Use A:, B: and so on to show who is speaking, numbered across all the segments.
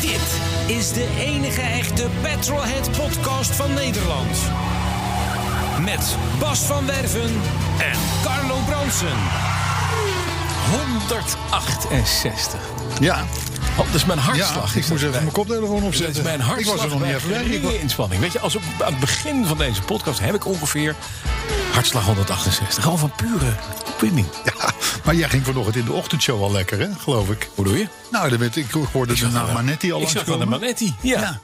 A: Dit is de enige echte Petrolhead podcast van Nederland. Met Bas van Werven en Carlo Bronsen.
B: 168.
C: Ja,
B: Oh, dat is mijn
C: ja
B: hartslag.
C: ik moest even
B: erbij.
C: mijn koptelefoon
B: Dat
C: opzetten.
B: is mijn hartslag.
C: Ik was er nog niet
B: bij
C: even weg. Ik
B: geringe
C: wa-
B: inspanning. Weet je, als op, aan het begin van deze podcast heb ik ongeveer hartslag 168. Gewoon van pure opwinding.
C: Ja, maar jij ging vanochtend in de ochtendshow al lekker, hè, geloof ik.
B: Hoe doe je?
C: Nou, dan werd, ik hoorde de naam Manetti al
B: Ik zag
C: langskomen.
B: aan de Manetti. Ja.
C: Ja.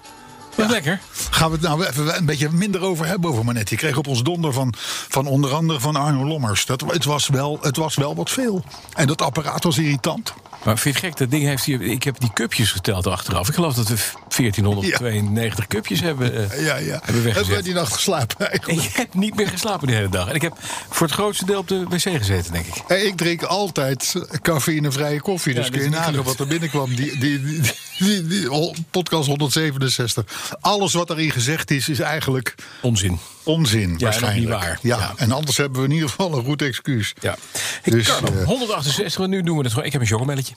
B: Dat is lekker.
C: Gaan we het nou even een beetje minder over hebben over Manetti. Ik kreeg op ons donder van, van onder andere van Arno Lommers. Dat, het, was wel, het was wel wat veel. En dat apparaat was irritant.
B: Maar vind je het gek, dat ding heeft hier... Ik heb die cupjes geteld achteraf. Ik geloof dat we 1492 cupjes hebben, eh,
C: Ja, ja.
B: hebben
C: Hebben
B: weggezet.
C: we die nacht geslapen
B: En
C: eigenlijk?
B: je hebt niet meer geslapen de hele dag. En ik heb voor het grootste deel op de wc gezeten, denk ik.
C: Hey, Eh, ik drink altijd cafeïnevrije koffie.
B: Ja,
C: dus
B: dat
C: kun je
B: is niet
C: nagaan
B: gelukt.
C: wat er binnenkwam. Die, die, die, die- die- hol- podcast 167. Alles wat daarin gezegd is, is eigenlijk
B: Onzin.
C: onzin. waarschijnlijk.
B: nog niet waar.
C: Ja,
B: Ja.
C: en anders hebben we in ieder geval een goed excuus.
B: Ja. Hey,
C: Dus,
B: Carlo,
C: eh,
B: 168, want nu doen we het gewoon. Ik heb een chocomelletje.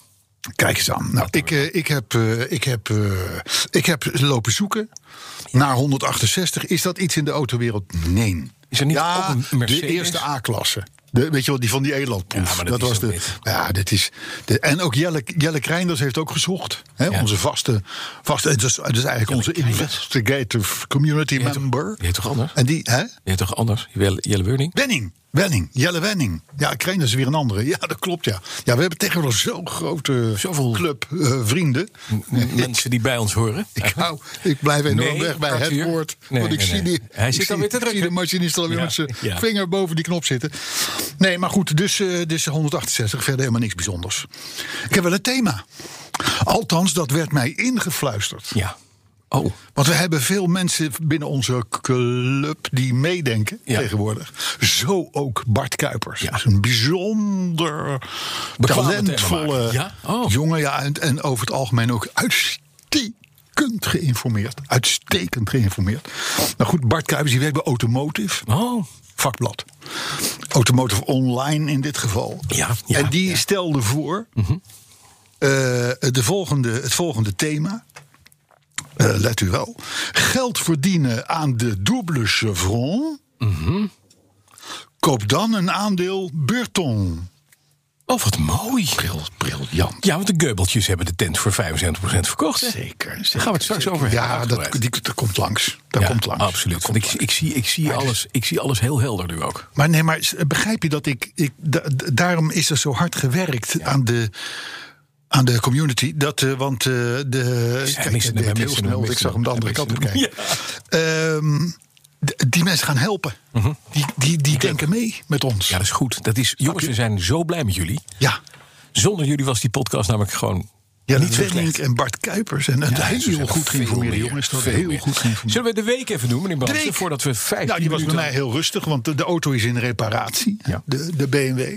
C: Kijk eens aan. Nou, ik, eh, ik, heb, eh, ik, heb, eh, ik heb lopen zoeken naar 168. Is dat iets in de autowereld? Nee.
B: Is er niet
C: ja,
B: ook een Mercedes?
C: de eerste A-klasse. De, weet je wel, die van die
B: Ja,
C: Elandproef.
B: maar dat
C: dat
B: is
C: was
B: dat
C: de.
B: niet.
C: Ja, dit is. De, en ook Jelle, Jelle Kreinders heeft ook gezocht. Hè,
B: Ja.
C: Onze vaste. vaste het, is, het is eigenlijk onze investigative community
B: heet toch-
C: member.
B: die heet toch anders?
C: En die, hè?
B: Je hebt toch anders? Jelle, Jelle Weuning?
C: Wenning. Wenning. Jelle Wenning. Ja, Krijn is weer een andere. Ja, dat klopt, ja. Ja, we hebben tegenwoordig zo'n grote
B: Zoveel-
C: club eh, vrienden.
B: M- Mensen die bij ons horen.
C: Ik, hou, ik blijf enorm
B: Nee,
C: weg bij
B: Arthur.
C: het woord.
B: Nee,
C: want ik
B: nee,
C: zie,
B: nee.
C: die,
B: Hij
C: ik
B: zit
C: zie,
B: alweer te
C: ik zie de
B: drukken.
C: machinist alweer
B: Ja,
C: met zijn
B: ja.
C: vinger boven die knop zitten. Nee, maar goed, dus, eh, dus 168, verder helemaal niks bijzonders. Ik heb wel een thema. Althans, dat werd mij ingefluisterd.
B: Ja. Oh.
C: Want we hebben veel mensen binnen onze club die meedenken
B: Ja.
C: tegenwoordig. Zo ook Bart Kuipers.
B: Ja.
C: Dat is een bijzonder
B: Bekwame
C: talentvolle
B: themamaker. Ja? Oh.
C: jongen. Ja, en, en over het algemeen ook uitstekend geïnformeerd. Uitstekend geïnformeerd. Nou goed, Bart Kuipers die werkt bij Automotive
B: Oh.
C: vakblad. Automotive Online in dit geval.
B: Ja, ja,
C: en die
B: ja. Mhm.
C: stelde voor eh, de volgende, het volgende thema. Eh, let u wel. Geld verdienen aan de double chevron.
B: Mhm.
C: Koop dan een aandeel Burton.
B: Oh, wat mooi.
C: Briljant.
B: Ja, want de Geubeltjes hebben de tent voor 75% verkocht. hè?
C: Zeker. zeker
B: Daar gaan we het straks over hebben.
C: Ja, dat,
B: uitgebreid.
C: die, dat komt langs. Dat
B: Ja,
C: komt langs.
B: Absoluut.
C: Dat
B: Want
C: komt
B: ik, ik, zie, ik, zie alles, ik zie alles heel helder nu ook.
C: Maar nee, maar s- begrijp je dat ik. ik da- da- daarom is er zo hard gewerkt aan de. Aan de community, dat, eh, want eh, de.
B: Ja,
C: kijk,
B: missen
C: hij
B: hem,
C: deed heel
B: missen
C: snel,
B: hem,
C: want ik zag hem de
B: missen
C: andere
B: hem.
C: kant op kijken. Ehm, d- die mensen gaan helpen. Die, die, die denken mee met ons.
B: Mhm. Ja, dat is goed. Dat is, jongens, we zijn zo blij met jullie.
C: Ja.
B: Zonder jullie was die podcast namelijk gewoon.
C: Ja,
B: niet
C: niet
B: zo
C: Wenning
B: slecht.
C: en Bart Kuipers. En een
B: Ja, zo zijn
C: heel
B: er
C: goed
B: veel
C: geïnformeerde
B: meer.
C: jongens. Dat
B: Veel
C: heel
B: meer.
C: goed geïnformeerd.
B: Zullen we de week even doen, meneer
C: De
B: Bransen?
C: week.
B: Voordat we vijf
C: Nou, die was bij
B: minuten...
C: mij heel rustig, want de, de auto is in reparatie.
B: Ja. Mhm.
C: De, de BMW.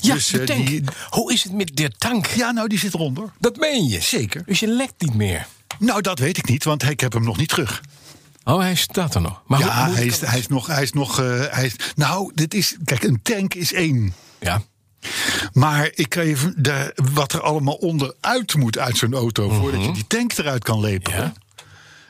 B: Ja,
C: Dus,
B: de
C: eh,
B: tank.
C: die-
B: Hoe is het met de tank?
C: Ja, nou, die zit eronder.
B: Dat meen je.
C: Zeker.
B: Dus je lekt niet meer.
C: Nou, dat weet ik niet, want ik heb hem nog niet terug.
B: Oh, hij staat er nog. Maar hoe-
C: Ja,
B: hoe-
C: hij is, hij is nog. Hij is nog eh, hij is, nou, dit is. Kijk, een tank is één.
B: Ja.
C: Maar ik kan je v- de, wat er allemaal onderuit moet uit zo'n auto. voordat je die tank eruit kan lepelen.
B: Mhm. Ja.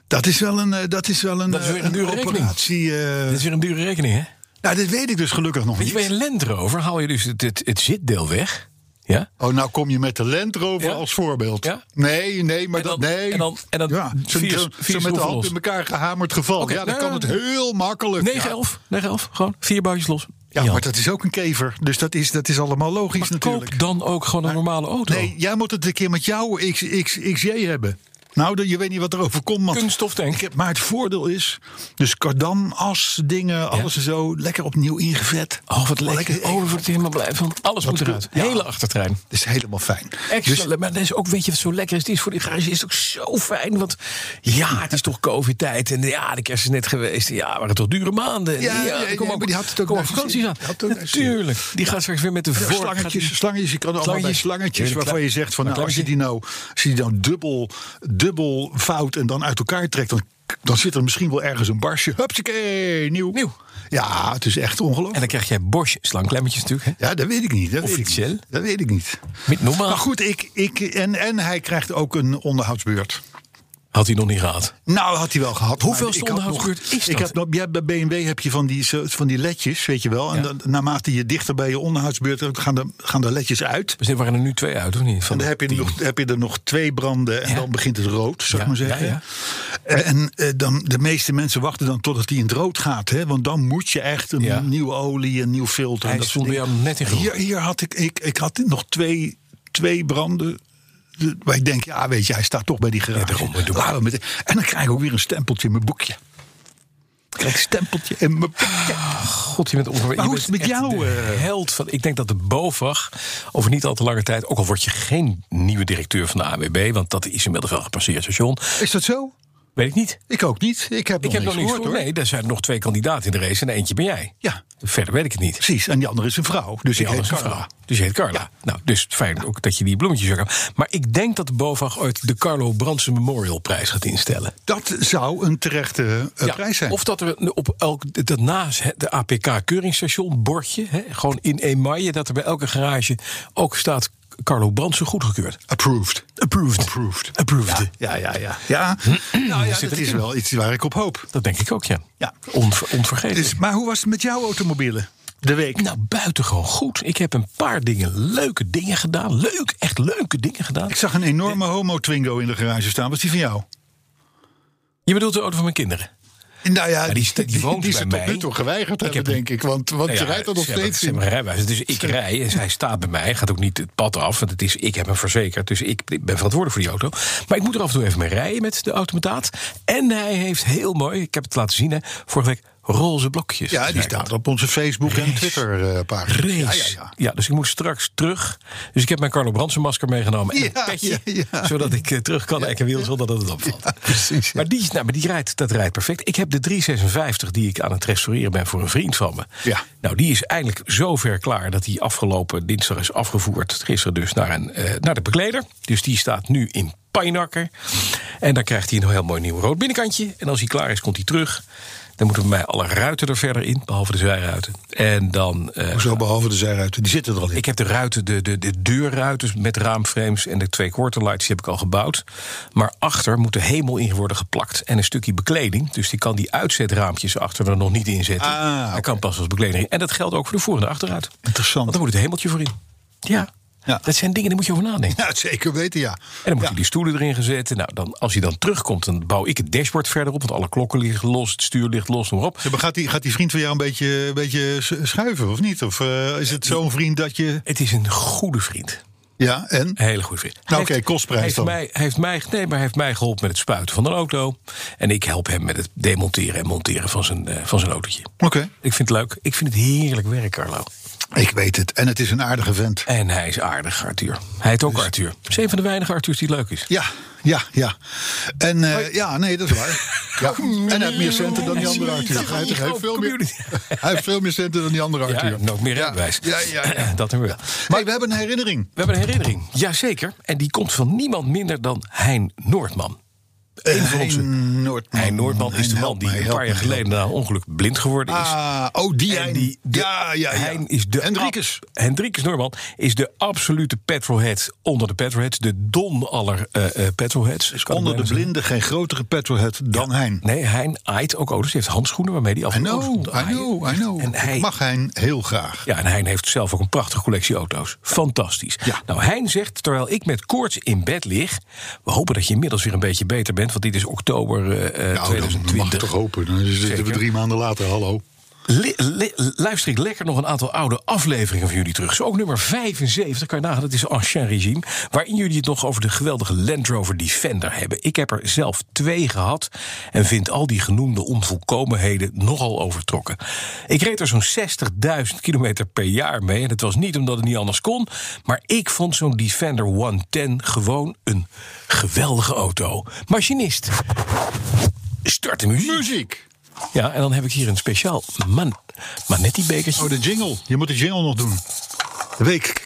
C: Dat is wel een, eh, dat is wel een,
B: Dat is weer een
C: eh,
B: dure rekening.
C: operatie. eh,
B: Dat is weer een dure rekening, hè?
C: nou, dit weet ik dus gelukkig nog
B: Weet je,
C: niet.
B: bij een Land Rover haal je dus het, het, het zitdeel weg. Ja?
C: Oh, nou kom je met de Land Rover
B: Ja.
C: als voorbeeld.
B: Ja.
C: Nee, nee, maar
B: En dan-
C: dat nee.
B: en dan- en dan
C: ja, zo,
B: vier-
C: zo- zo
B: vier
C: met de
B: schroeven
C: hand
B: los.
C: in elkaar gehamerd geval.
B: Oké,
C: ja, dan
B: nou,
C: kan het heel makkelijk.
B: 9,
C: ja.
B: 11. 9, 11. Gewoon vier boutjes los.
C: Ja,
B: Jan.
C: maar dat is ook een kever. Dus dat is, dat is allemaal logisch
B: Maar
C: natuurlijk.
B: koop dan ook gewoon een normale auto.
C: Nee, jij moet het een keer met jouw X, X, XJ hebben. Nou, de- je weet niet wat er overkomt. man.
B: Kunststof tank.
C: Ik heb- Maar het voordeel is, dus kardan, as, dingen, alles en zo, lekker opnieuw ingevet.
B: Oh, wat
C: lekker.
B: lekker. Oh, daar word ik helemaal blij van. Alles moet eruit.
C: Ja.
B: Hele achtertrein.
C: Dat is helemaal fijn. Dus
B: Extra, Dus, maar dat is ook, weet je wat zo lekker is? Die is voor die garage is het ook zo fijn. Want ja, het is toch covid-tijd. En ja, de kerst is net geweest. Ja, waren toch dure maanden. En
C: Ja, ja, ja,
B: kom
C: ja,
B: ook,
C: maar die had het ook
B: kom
C: naar
B: ook vakanties
C: zin.
B: aan.
C: Die had het ook naar zin.
B: Natuurlijk. Die gaat straks weer met de vork.
C: slangetjes,
B: gaat
C: slangetjes, je kan allemaal bij
B: Slangetjes.
C: slangetjes
B: Heerlijk,
C: waarvan
B: klap-
C: je zegt van
B: een
C: nou, als je die
B: klapje.
C: nou, als je die nou dubbel, dubbel fout en dan uit elkaar trekt, dan, dan zit er misschien wel ergens een barsje. Hupsakee, nieuw.
B: Nieuw.
C: Ja, het is echt
B: die-
C: ongelooflijk.
B: En dan krijg jij Bosch slangklemmetjes natuurlijk. Hè?
C: Ja, dat weet ik niet. Dat weet ik
B: Officieel?
C: niet. Dat weet ik niet. Ah.
B: Met normaal.
C: Maar goed, ik, ik, en, en hij krijgt ook een onderhoudsbeurt.
B: Had hij nog niet gehad.
C: Nou, had hij wel gehad. maar
B: Hoeveelste
C: ik had nog-
B: onderhoudsbeurt is
C: Ik
B: dat?
C: heb nog, je hebt bij BMW heb je van die, zo- van die ledjes, weet je wel. En
B: Ja.
C: dan, naarmate je dichter bij je onderhoudsbeurt komt, gaan de, gaan de ledjes uit.
B: Dus er waren er nu twee uit, of niet? Van
C: En dan heb je, er
B: die-
C: nog, heb je er nog twee branden en
B: Ja.
C: dan begint het rood, zou ik
B: Ja,
C: maar zeggen.
B: ja,
C: En eh, dan, de meeste mensen wachten dan totdat die in het rood gaat. Hè? Want dan moet je echt een
B: Ja.
C: nieuwe olie, een nieuw filter. en
B: Hij
C: dat
B: stond
C: soort
B: bij
C: dingen.
B: jou net in groen.
C: Hier, hier had ik, ik, ik had nog twee, twee branden. De- Waar ik denk, ja weet je, hij staat toch bij die garage.
B: daarom, we doen
C: Laten we meteen- en dan krijg ik ook weer een stempeltje in mijn boekje. Ik Krijg een stempeltje in mijn boekje.
B: God, je bent ongeveer.
C: Maar
B: je
C: hoe is het
B: bent
C: met
B: echt
C: jou,
B: de
C: eh?
B: held van. Ik denk dat de BOVAG over niet al te lange tijd. Ook al word je geen nieuwe directeur van de AWB, want dat is inmiddels wel gepasseerd station.
C: Is dat zo?
B: Weet ik niet.
C: Ik ook niet. Ik heb
B: Ik
C: nog
B: heb nog
C: niks
B: niks
C: gehoord
B: gehoord.
C: hoor.
B: Nee, er zijn nog twee kandidaten in de race en eentje ben jij.
C: Ja.
B: Verder weet ik het niet.
C: Precies, en die andere is een vrouw. Dus
B: Die
C: ik heet
B: andere is een
C: Carla.
B: vrouw. Dus je heet Carla. Nou, dus fijn ook dat je die bloemetjes ook hebt. Maar ik denk dat de BOVAG ooit de Carlo Brandsen Memorial Prijs gaat instellen.
C: Dat zou een terechte eh,
B: Ja,
C: prijs zijn.
B: Of dat er op elk, dat naast het- de APK-keuringstation bordje, hè, gewoon in emaille, dat er bij elke garage ook staat Carlo Brandsen goedgekeurd.
C: Approved.
B: Approved.
C: Approved.
B: Approved.
C: Ja, ja, ja. Ja, nou ja,
B: zit
C: dat
B: er
C: is
B: in.
C: wel iets waar ik op hoop.
B: Dat denk ik ook, ja.
C: Ja.
B: Onver- onvergetelijk.
C: Dus, maar hoe was het met jouw automobielen? De week.
B: Nou, buitengewoon goed. Ik heb een paar dingen, leuke dingen gedaan. Leuk, echt leuke dingen gedaan.
C: Ik zag een enorme homo-twingo in de garage staan. Was die van jou?
B: Je bedoelt de auto van mijn kinderen?
C: Nou ja,
B: die sta- die woont
C: ze
B: bij
C: tot
B: mij.
C: nu toe geweigerd
B: Ik
C: hebben,
B: heb-
C: denk ik. Want, want
B: Nou
C: je
B: ja,
C: Oh, rijdt er nog
B: ze hebben-
C: steeds
B: ze
C: in.
B: hebben een rijbewijs. Dus ik rij en hij staat bij mij. Hij gaat ook niet het pad af. Want het is, ik heb hem verzekerd. Dus ik ben verantwoordelijk voor die auto. Maar ik moet er af en toe even mee rijden met de automataat. En hij heeft heel mooi, ik heb het laten zien hè, vorige week, roze blokjes.
C: Ja, die
B: Dus
C: staat op onze Facebook- en Twitter-pagina.
B: Race.
C: Ja,
B: Ja,
C: ja, ja.
B: dus ik moet straks terug. Dus ik heb mijn Carlo Brandsen masker meegenomen en
C: Ja,
B: een petje.
C: ja, ja.
B: Zodat ik eh, terug kan ekken wiel zonder dat het opvalt.
C: precies, ja.
B: Maar, die, is- nou, maar die rijdt, dat rijdt perfect. Ik heb de 356 die ik aan het restaureren ben voor een vriend van me.
C: Ja.
B: Nou, die is eindelijk zover klaar dat die afgelopen dinsdag is afgevoerd. Gisteren dus naar, een, eh, naar de bekleder. Dus die staat nu in Pijnakker. En dan krijgt hij een heel mooi nieuw rood binnenkantje. En als hij klaar is, komt hij terug. Dan moeten bij mij alle ruiten er verder in, behalve de zijruiten. En dan eh,
C: Hoezo, behalve de zijruiten. Die zitten er al in.
B: ik heb de ruiten, de, de, de deurruiten met raamframes en de twee quarterlights die heb ik al gebouwd. Maar achter moet de hemel in worden geplakt en een stukje bekleding. Dus die kan die uitzetraampjes achter er nog niet in zetten.
C: Ah, oké.
B: Dat kan pas als bekleding. En dat geldt ook voor de voor- en de achteruit.
C: Interessant.
B: Want daar moet het hemeltje voor in. Ja.
C: Ja.
B: Dat zijn dingen, daar moet je over nadenken.
C: Ja, zeker weten, ja.
B: En dan moet
C: Ja.
B: je die stoelen erin gezet. Nou, dan, als hij dan terugkomt, dan bouw ik het dashboard verder op. Want alle klokken liggen los, het stuur ligt los, noem maar op.
C: Ja, maar gaat, die, gaat die vriend van jou een beetje, een beetje s- schuiven, of niet? Of eh, is het zo'n vriend dat je...
B: Het is een goede vriend.
C: Ja, en?
B: Een hele goede vriend.
C: Nou,
B: Hij
C: oké,
B: heeft-
C: kostprijs
B: hij heeft
C: dan.
B: Mij, hij heeft mij, nee, maar hij heeft mij geholpen met het spuiten van een auto. En ik help hem met het demonteren en monteren van zijn, eh, van zijn autootje.
C: Oké.
B: Ik vind het leuk. Ik vind het heerlijk werk, Carlo.
C: Ik weet het. En het is een aardige vent.
B: En hij is aardig, Arthur. Hij heet ook
C: Dus-
B: Arthur. Het is een van de weinige Arthurs die leuk is.
C: Ja, ja, ja. En eh, ja, nee, dat is waar. Ja. En hij heeft meer centen dan die andere Arthur. Hij heeft, hij heeft veel, meer, hij heeft veel meer centen dan die andere
B: Ja,
C: Arthur.
B: en ook meer
C: ja,
B: rijbewijs.
C: Ja, ja, ja.
B: Dat hebben we wel.
C: Maar we hebben een herinnering.
B: We hebben een herinnering. Jazeker. En die komt van niemand minder dan Hein Noordman. Een van onze.
C: Hein Noordman.
B: Hein Noordman is de
C: Hein,
B: man
C: help
B: die
C: mij,
B: een
C: help
B: paar jaar
C: mij,
B: geleden na een ongeluk blind geworden is.
C: Ah, oh, die
B: En
C: Hein.
B: die, de-
C: ja, ja, ja.
B: Hein is de
C: Hendrikus.
B: ab- Hendrikus Norman is de absolute petrolhead onder de petrolheads. De don aller eh eh, petrolheads. kan ik
C: Onder
B: bijna
C: de
B: zeggen.
C: blinden geen grotere petrolhead dan Hein.
B: Nee, Hein aait ook auto's. Hij heeft handschoenen waarmee Oh, hij af
C: I
B: en toe auto's
C: know,
B: komt
C: I
B: aaien.
C: know, I know.
B: En hij,
C: Ik mag Hein heel graag.
B: ja, en Hein heeft zelf ook een prachtige collectie auto's. Fantastisch.
C: Ja.
B: Nou, Hein zegt, terwijl ik met koorts in bed lig... we hopen dat je inmiddels weer een beetje beter bent... want dit is oktober eh, eh,
C: Nou, dat mag
B: 2020.
C: toch hopen. Dan zitten we
B: Zeker.
C: drie maanden later, hallo.
B: li- li- luister ik lekker nog een aantal oude afleveringen van jullie terug. Zo ook nummer 75, kan je nagaan, dat is Ancien Regime. Waarin jullie het nog over de geweldige Land Rover Defender hebben. Ik heb er zelf twee gehad en vind al die genoemde onvolkomenheden nogal overtrokken. Ik reed er zo'n 60.000 kilometer per jaar mee. En dat was niet omdat het niet anders kon. Maar ik vond zo'n Defender 110 gewoon een geweldige auto. Machinist. Start de muziek.
C: Muziek.
B: Ja, en dan heb ik hier een speciaal man, Manetti bekertje.
C: Oh, de jingle. Je moet de jingle nog doen. De week.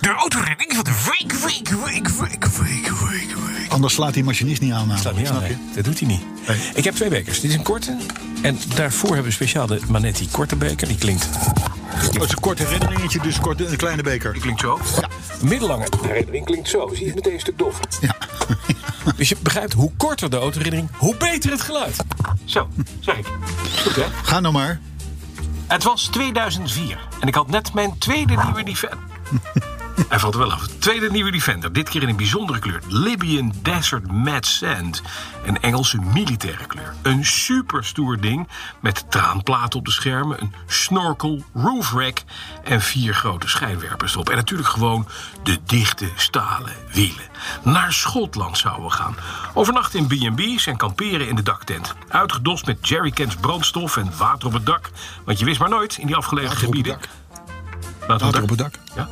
B: De autoredding van de week, week, week, week, week, week, week.
C: Anders slaat die machinist niet aan.
B: Staat
C: namelijk,
B: niet aan,
C: snap je?
B: nee. Dat doet hij niet.
C: Nee.
B: Ik heb twee bekers. Dit is een korte. En daarvoor hebben we speciaal de Manetti korte beker. Die klinkt,
C: Oh, het is een kort herinneringetje, dus kort, een kleine beker.
B: klinkt zo. Ja. Middellange herinnering klinkt zo. Zie je het meteen een stuk dof.
C: Ja.
B: Dus je begrijpt, hoe korter de autoherinnering, hoe beter het geluid. Zo, zeg ik. Goed, hè?
C: Ga nou maar.
B: Het was 2004 en ik had net mijn tweede nieuwe Defender. Hij valt er wel af. Tweede nieuwe Defender, dit keer in een bijzondere kleur. Libyan Desert Mad Sand. Een Engelse militaire kleur. Een super stoer ding met traanplaten op de schermen, een snorkel, roof rack en vier grote schijnwerpers erop. En natuurlijk gewoon de dichte stalen wielen. Naar Schotland zouden we gaan. Overnachten in B&B's en kamperen in de daktent. Uitgedost met jerrycans brandstof en water op het dak. Want je wist maar nooit in die afgelegen
C: Water op het
B: gebieden.
C: dak.
B: Water
C: Water op het dak.
B: Ja.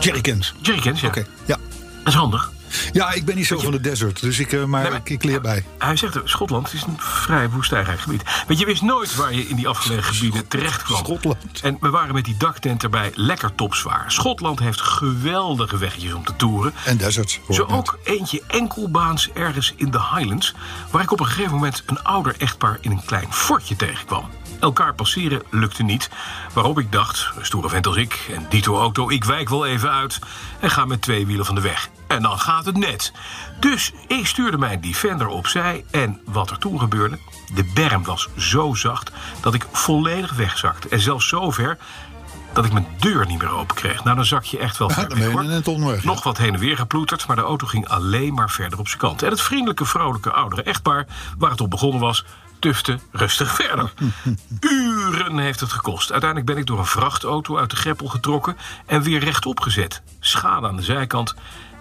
C: Jerrycans. Oké,
B: Jerrycans, ja.
C: ja.
B: Dat is handig.
C: Ja, ik ben niet zo van de desert, dus ik, eh, maar ik, ik leer bij.
B: Hij zegt, eh, Schotland is een vrij woestijnrijk gebied. Want je wist nooit waar je in die afgelegen gebieden terecht kwam.
C: Schotland.
B: En we waren met die daktent erbij lekker topzwaar. Schotland heeft geweldige wegjes om te toeren.
C: En desert. hoor
B: Zo
C: ik net.
B: ook eentje enkelbaans ergens in de Highlands... waar ik op een gegeven moment een ouder echtpaar in een klein fortje tegenkwam. Elkaar passeren lukte niet, waarop ik dacht... een stoere vent als ik en dito auto, ik wijk wel even uit... en ga met twee wielen van de weg. En dan gaat het net. Dus ik stuurde mijn Defender opzij en wat er toen gebeurde... de berm was zo zacht dat ik volledig wegzakte. En zelfs zover dat ik mijn deur niet meer open kreeg. Nou, dan zak je echt wel
C: Ja,
B: ver
C: dan
B: weg,
C: ben je
B: hoor.
C: net onderweg, ja.
B: Nog wat heen en weer geploeterd, maar de auto ging alleen maar verder op zijn kant. En het vriendelijke, vrolijke oudere echtpaar, waar het op begonnen was, tufte rustig verder. Uren heeft het gekost. Uiteindelijk ben ik door een vrachtauto uit de greppel getrokken en weer rechtop gezet. Schade aan de zijkant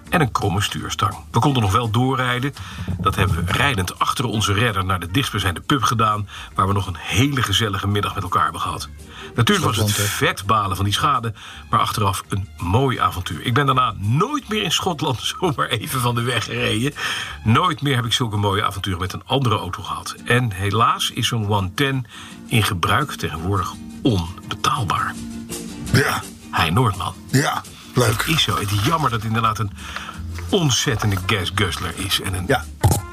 B: en een kromme stuurstang. We konden nog wel doorrijden. Dat hebben we rijdend achter onze redder naar de dichtstbijzijnde pub gedaan... waar we nog een hele gezellige middag met elkaar hebben gehad. Natuurlijk was het
C: Schotland, hè?
B: vet balen van die schade, maar achteraf een mooi avontuur. Ik ben daarna nooit meer in Schotland zomaar even van de weg gereden. Nooit meer heb ik zulke mooie avonturen met een andere auto gehad. En helaas is zo'n 110 in gebruik tegenwoordig onbetaalbaar.
C: Ja,
B: Hij Noordman.
C: ja. Leuk.
B: Is zo. Het is jammer dat het inderdaad een ontzettende gasguzzler is. En een...
C: Ja.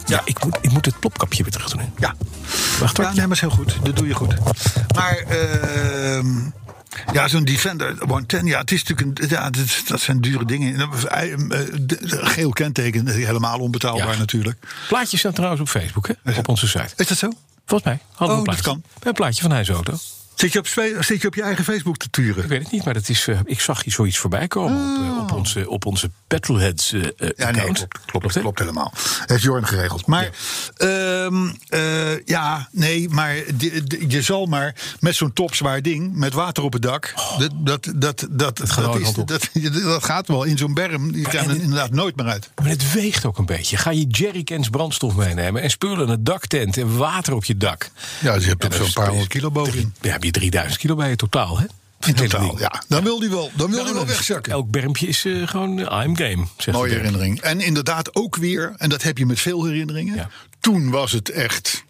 B: ja ik, moet, ik moet het plopkapje weer terug doen. hè.
C: Ja.
B: Wacht
C: Ja,
B: hoor.
C: nee, maar is heel goed. Dat doe je goed. Maar, ehm, ja, zo'n Defender 110, ja, het is natuurlijk een, ja, dat, dat zijn dure dingen. En, eh, eh, de- de- Geel kenteken, helemaal onbetaalbaar
B: Ja.
C: natuurlijk.
B: Plaatjes staan trouwens op Facebook, hè? op onze site.
C: Is dat zo?
B: Volgens mij hadden we
C: Oh,
B: een
C: dat
B: plaatje.
C: kan.
B: Een plaatje van Heinz Auto.
C: Zit je op, spe- zit je, op je eigen Facebook te turen?
B: Ik weet het niet, maar dat is, eh, ik zag hier zoiets voorbij komen op, eh, op onze, op onze Petrolheads eh, eh,
C: Oh. Ja, nee,
B: account.
C: klopt, klopt,
B: hè?
C: klopt helemaal. Heeft Jorn geregeld. Maar ja, ja nee, maar di- di- je zal maar met zo'n topzwaar ding, met water op het dak, dat, dat, dat, dat,
B: gaat alle
C: dat, is,
B: kanten op.
C: dat, dat gaat wel in zo'n berm. Je kan
B: en-
C: er inderdaad nooit meer uit.
B: Maar het weegt ook een beetje. Ga je jerrycans brandstof meenemen en spullen, een daktent en water op je dak.
C: Ja, dus je hebt
B: Ja,
C: er
B: dat
C: zo'n
B: is-
C: paar
B: dat is
C: honderd kilo
B: Drie,
C: bovenin.
B: ja, heb je 3000 kilo bij je totaal, hè?
C: In totaal, ja. Dan wil die wel, dan wil die wel wegzakken.
B: dus Elk bermpje is eh, gewoon eh, I'm game, zegt
C: Mooie
B: de berm.
C: herinnering. En inderdaad ook weer, en dat heb je met veel herinneringen.
B: Ja.
C: Toen was het echt.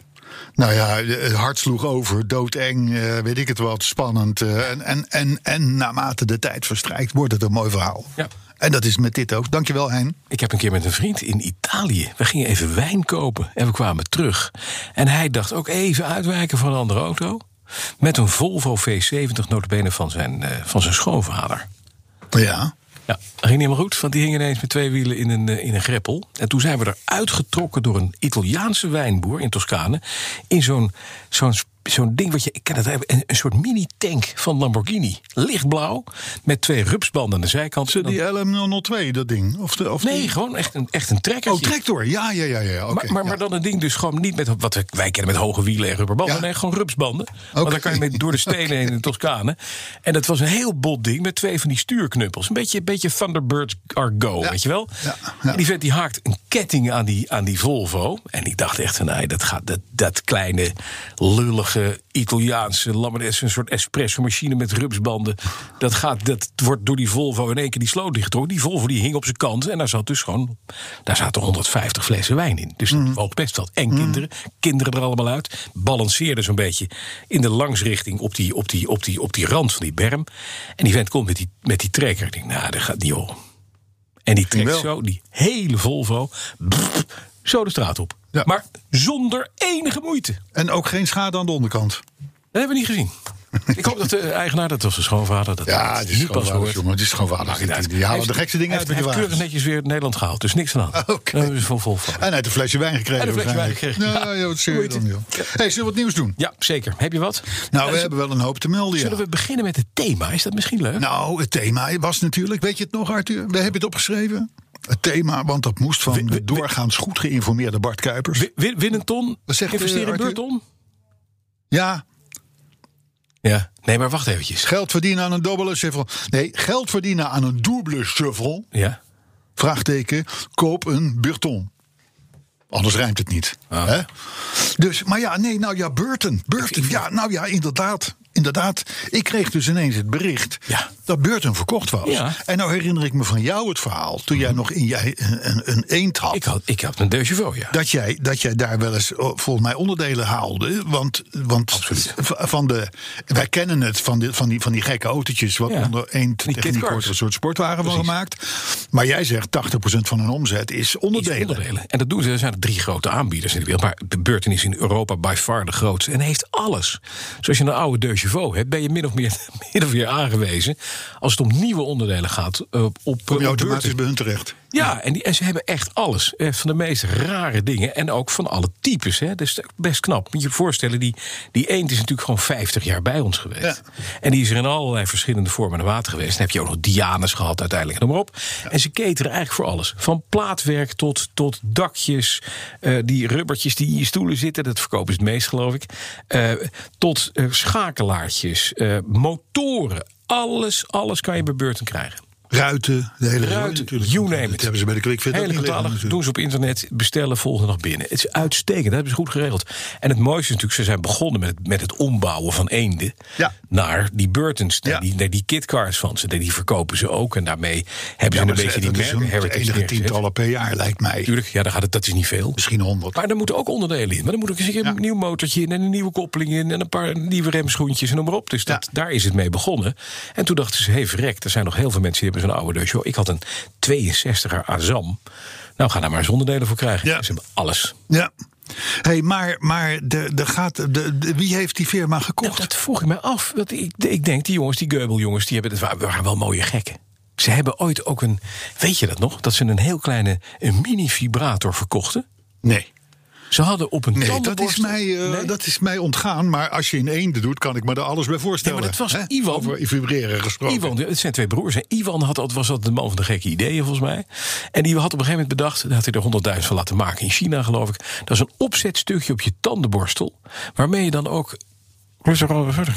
C: Nou ja, het hart sloeg over, doodeng, eh, weet ik het wat, spannend. eh, en, en, en, en naarmate de tijd verstrijkt, wordt het een mooi verhaal.
B: Ja.
C: En dat is met dit ook. Dankjewel, Hein.
B: Ik heb een keer met een vriend in Italië. We gingen even wijn kopen en we kwamen terug. En hij dacht ook even uitwijken van een andere auto. Met een Volvo V70 notabene van zijn, eh, van zijn schoonvader.
C: Ja.
B: Ja, dat ging niet helemaal goed, want die hing ineens met twee wielen in een, eh, in een greppel. En toen zijn we eruit getrokken door een Italiaanse wijnboer in Toscane... in zo'n zo'n zo'n ding wat je. Ik ken het hebben. Een, een soort mini-tank van Lamborghini. Lichtblauw. Met twee rupsbanden aan de zijkant.
C: Zo
B: En dan-
C: Die LM002, dat ding? Of de, of
B: nee,
C: die-
B: gewoon echt een, echt een trekkertje.
C: Oh, tractor. Ja, ja, ja. ja. oké,
B: maar, maar, maar
C: ja.
B: dan een ding dus gewoon niet met wat we- wij kennen met hoge wielen en rubberbanden.
C: Ja.
B: Nee, gewoon rupsbanden. Want
C: Oké.
B: dan kan je mee door de stenen heen in de Toscane. En dat was een heel bot ding met twee van die stuurknuppels. Een beetje, een beetje Thunderbird are go, weet je wel?
C: Ja, ja.
B: En die vent die haakt een ketting aan die, aan die Volvo. En ik dacht echt van, nee, dat, gaat, dat, dat kleine, lullige Italiaanse Lamborghini, een soort espresso-machine met rupsbanden. Dat, gaat, dat wordt door die Volvo in één keer die sloot dichtgetrokken. Die Volvo die hing op zijn kant en daar zat dus gewoon, daar zaten 150 flessen wijn in. Dus dat woog best wat. En kinderen, kinderen er allemaal uit. Balanceerde zo'n beetje in de langsrichting op die, op die, op die, op die rand van die berm. En die vent komt met die, met die trekker. Ik denk, nou, dat gaat niet om. En die trekt
C: Wel.
B: zo die hele Volvo brrr, zo de straat op.
C: Ja.
B: Maar zonder enige moeite.
C: En ook geen schade aan de onderkant.
B: Dat hebben we niet gezien. Ik hoop dat de eigenaar, dat was de schoonvader, dat
C: Ja,
B: dat
C: het is
B: nu pas
C: schoonvaders,
B: hoort.
C: jongen, het is schoonvaders.
B: Maakt niet
C: Die-
B: uit.
C: die halen
B: Hij
C: de gekste dingen
B: heeft-
C: uit met die
B: Hij heeft keurig
C: wagens.
B: netjes weer Nederland gehaald, dus niks aan.
C: Oké.
B: Dat hebben ze van Volvo.
C: En hij heeft een flesje wijn gekregen.
B: En een flesje wijn
C: waarschijnlijk.
B: gekregen,
C: Nou,
B: ja.
C: ja, wat zul
B: Hoe
C: je
B: heet
C: dan, joh. hey, zullen we wat nieuws doen?
B: Ja, zeker. Heb je wat?
C: Nou,
B: Eh,
C: we hebben wel een hoop te melden, ja.
B: Zullen we beginnen met het thema? Is dat misschien leuk?
C: Nou, het thema was natuurlijk, weet je het nog Arthur? We hebben het opgeschreven. Het thema, want dat moest van de doorgaans goed geïnformeerde Bart Kuipers.
B: Wi- win- Winnen ton?
C: Wat zegt, eh,
B: Investeren in
C: Arthur?
B: beurton?
C: Ja,
B: Ja. Nee, maar wacht eventjes.
C: geld verdienen aan een dubbele shuffle. Nee, geld verdienen aan een dubbele shuffle.
B: Ja.
C: Vraagteken, koop een Burton. Anders rijmt het niet.
B: Ah.
C: Hè? Dus, maar ja, nee, nou ja, Burton. Burton, ja, nou ja, inderdaad. Inderdaad, ik kreeg dus ineens het bericht
B: Ja.
C: dat Burton verkocht was.
B: Ja. Mhm.
C: En nou herinner ik me van jou het verhaal, toen jij nog in jij een, een, een eend had.
B: Ik had, ik had een deusjevo, ja.
C: dat jij, dat jij daar wel eens oh, volgens mij onderdelen haalde. Want, want v- van de, wij kennen het van, de, van, die, van die gekke autootjes. wat
B: Ja.
C: onder één
B: Die
C: techniek
B: kitcars.
C: wordt een soort sportwagen van
B: Precies.
C: gemaakt. Maar jij zegt 80% van hun omzet is
B: Iets
C: onderdelen.
B: onderdelen. En dat doen ze. Er zijn er drie grote aanbieders in de wereld. Maar de Burton is in Europa by far de grootste. En heeft alles. Zoals je een oude Deux Chevaux hebt, ben je min of meer, min of meer aangewezen. Als het om nieuwe onderdelen gaat. eh, op, op
C: Kom je
B: Burton.
C: automatisch bij hun terecht.
B: Ja, en, die, en ze hebben echt alles. Eh, Van de meest rare dingen. En ook van alle types. Hè. Dat is best knap. Moet je je voorstellen, die, die eend is natuurlijk gewoon 50 jaar bij ons geweest. En die is er in allerlei verschillende vormen en water geweest. Dan heb je ook nog Dianes gehad uiteindelijk. Noem maar op. En ze cateren eigenlijk voor alles. Van plaatwerk tot, tot dakjes. eh, die rubbertjes die in je stoelen zitten. Dat verkopen is het meest, geloof ik. eh, tot eh, schakelaartjes. eh, motoren. Alles, alles kan je bij Beurten krijgen.
C: Ruiten, de hele zooi
B: Ruiten,
C: natuurlijk.
B: you name
C: Dat
B: it.
C: hebben ze bij de QuickFit ook
B: Hele
C: niet liggen
B: catalogus,
C: natuurlijk.
B: doen ze op internet, bestellen, volgen nog binnen. Het is uitstekend, dat hebben ze goed geregeld. En het mooiste is natuurlijk, ze zijn begonnen met, met het ombouwen van eenden...
C: Ja.
B: naar die Burtons, naar,
C: Ja.
B: die, naar die kitcars van ze. Die verkopen ze ook en daarmee hebben ze
C: maar
B: een beetje die
C: dat is
B: merken
C: dus een-
B: heritage
C: enige
B: neergezet.
C: tientallen per jaar lijkt mij.
B: Natuurlijk, ja, daar gaat het, dat is niet veel.
C: Misschien honderd.
B: Maar er moeten ook onderdelen in. Maar dan moet ook eens een, keer een
C: Ja.
B: nieuw motortje in en een nieuwe koppeling in en een paar nieuwe remschoentjes en noem maar op. Dus dat,
C: Ja.
B: daar is het mee begonnen. En toen dachten ze, hey verrek, er zijn nog heel veel mensen die hebben zo'n oude Peugeot. Ik had een 62er Azam. Nou, ga daar maar eens onderdelen voor krijgen.
C: Ja.
B: Ze hebben alles.
C: Ja. Hey, maar maar de, de gaat, de, de- wie heeft die firma
B: Nou,
C: gekocht?
B: dat vroeg ik mij af. Want ik, ik denk, die jongens, die Geubeljongens, die hebben, dat waren, waren wel mooie gekken. Ze hebben ooit ook een, weet je dat nog? Dat ze een heel kleine, een mini vibrator verkochten.
C: nee.
B: Ze hadden op een
C: Nee, dat is,
B: tandenborstel-
C: mij, eh,
B: Nee?
C: dat is mij ontgaan. Maar als je in eenden doet, kan ik me daar alles bij voorstellen.
B: Nee, maar dat was
C: Hè?
B: Iwan.
C: Over vibreren gesproken.
B: Ivan, het zijn twee broers. En Ivan had, al- was altijd de man van de gekke ideeën, volgens mij. En die had op een gegeven moment bedacht... dat had hij er honderdduizend van laten maken in China, geloof ik. Dat is een opzetstukje op je tandenborstel... waarmee je dan ook... Klinkt er al verder.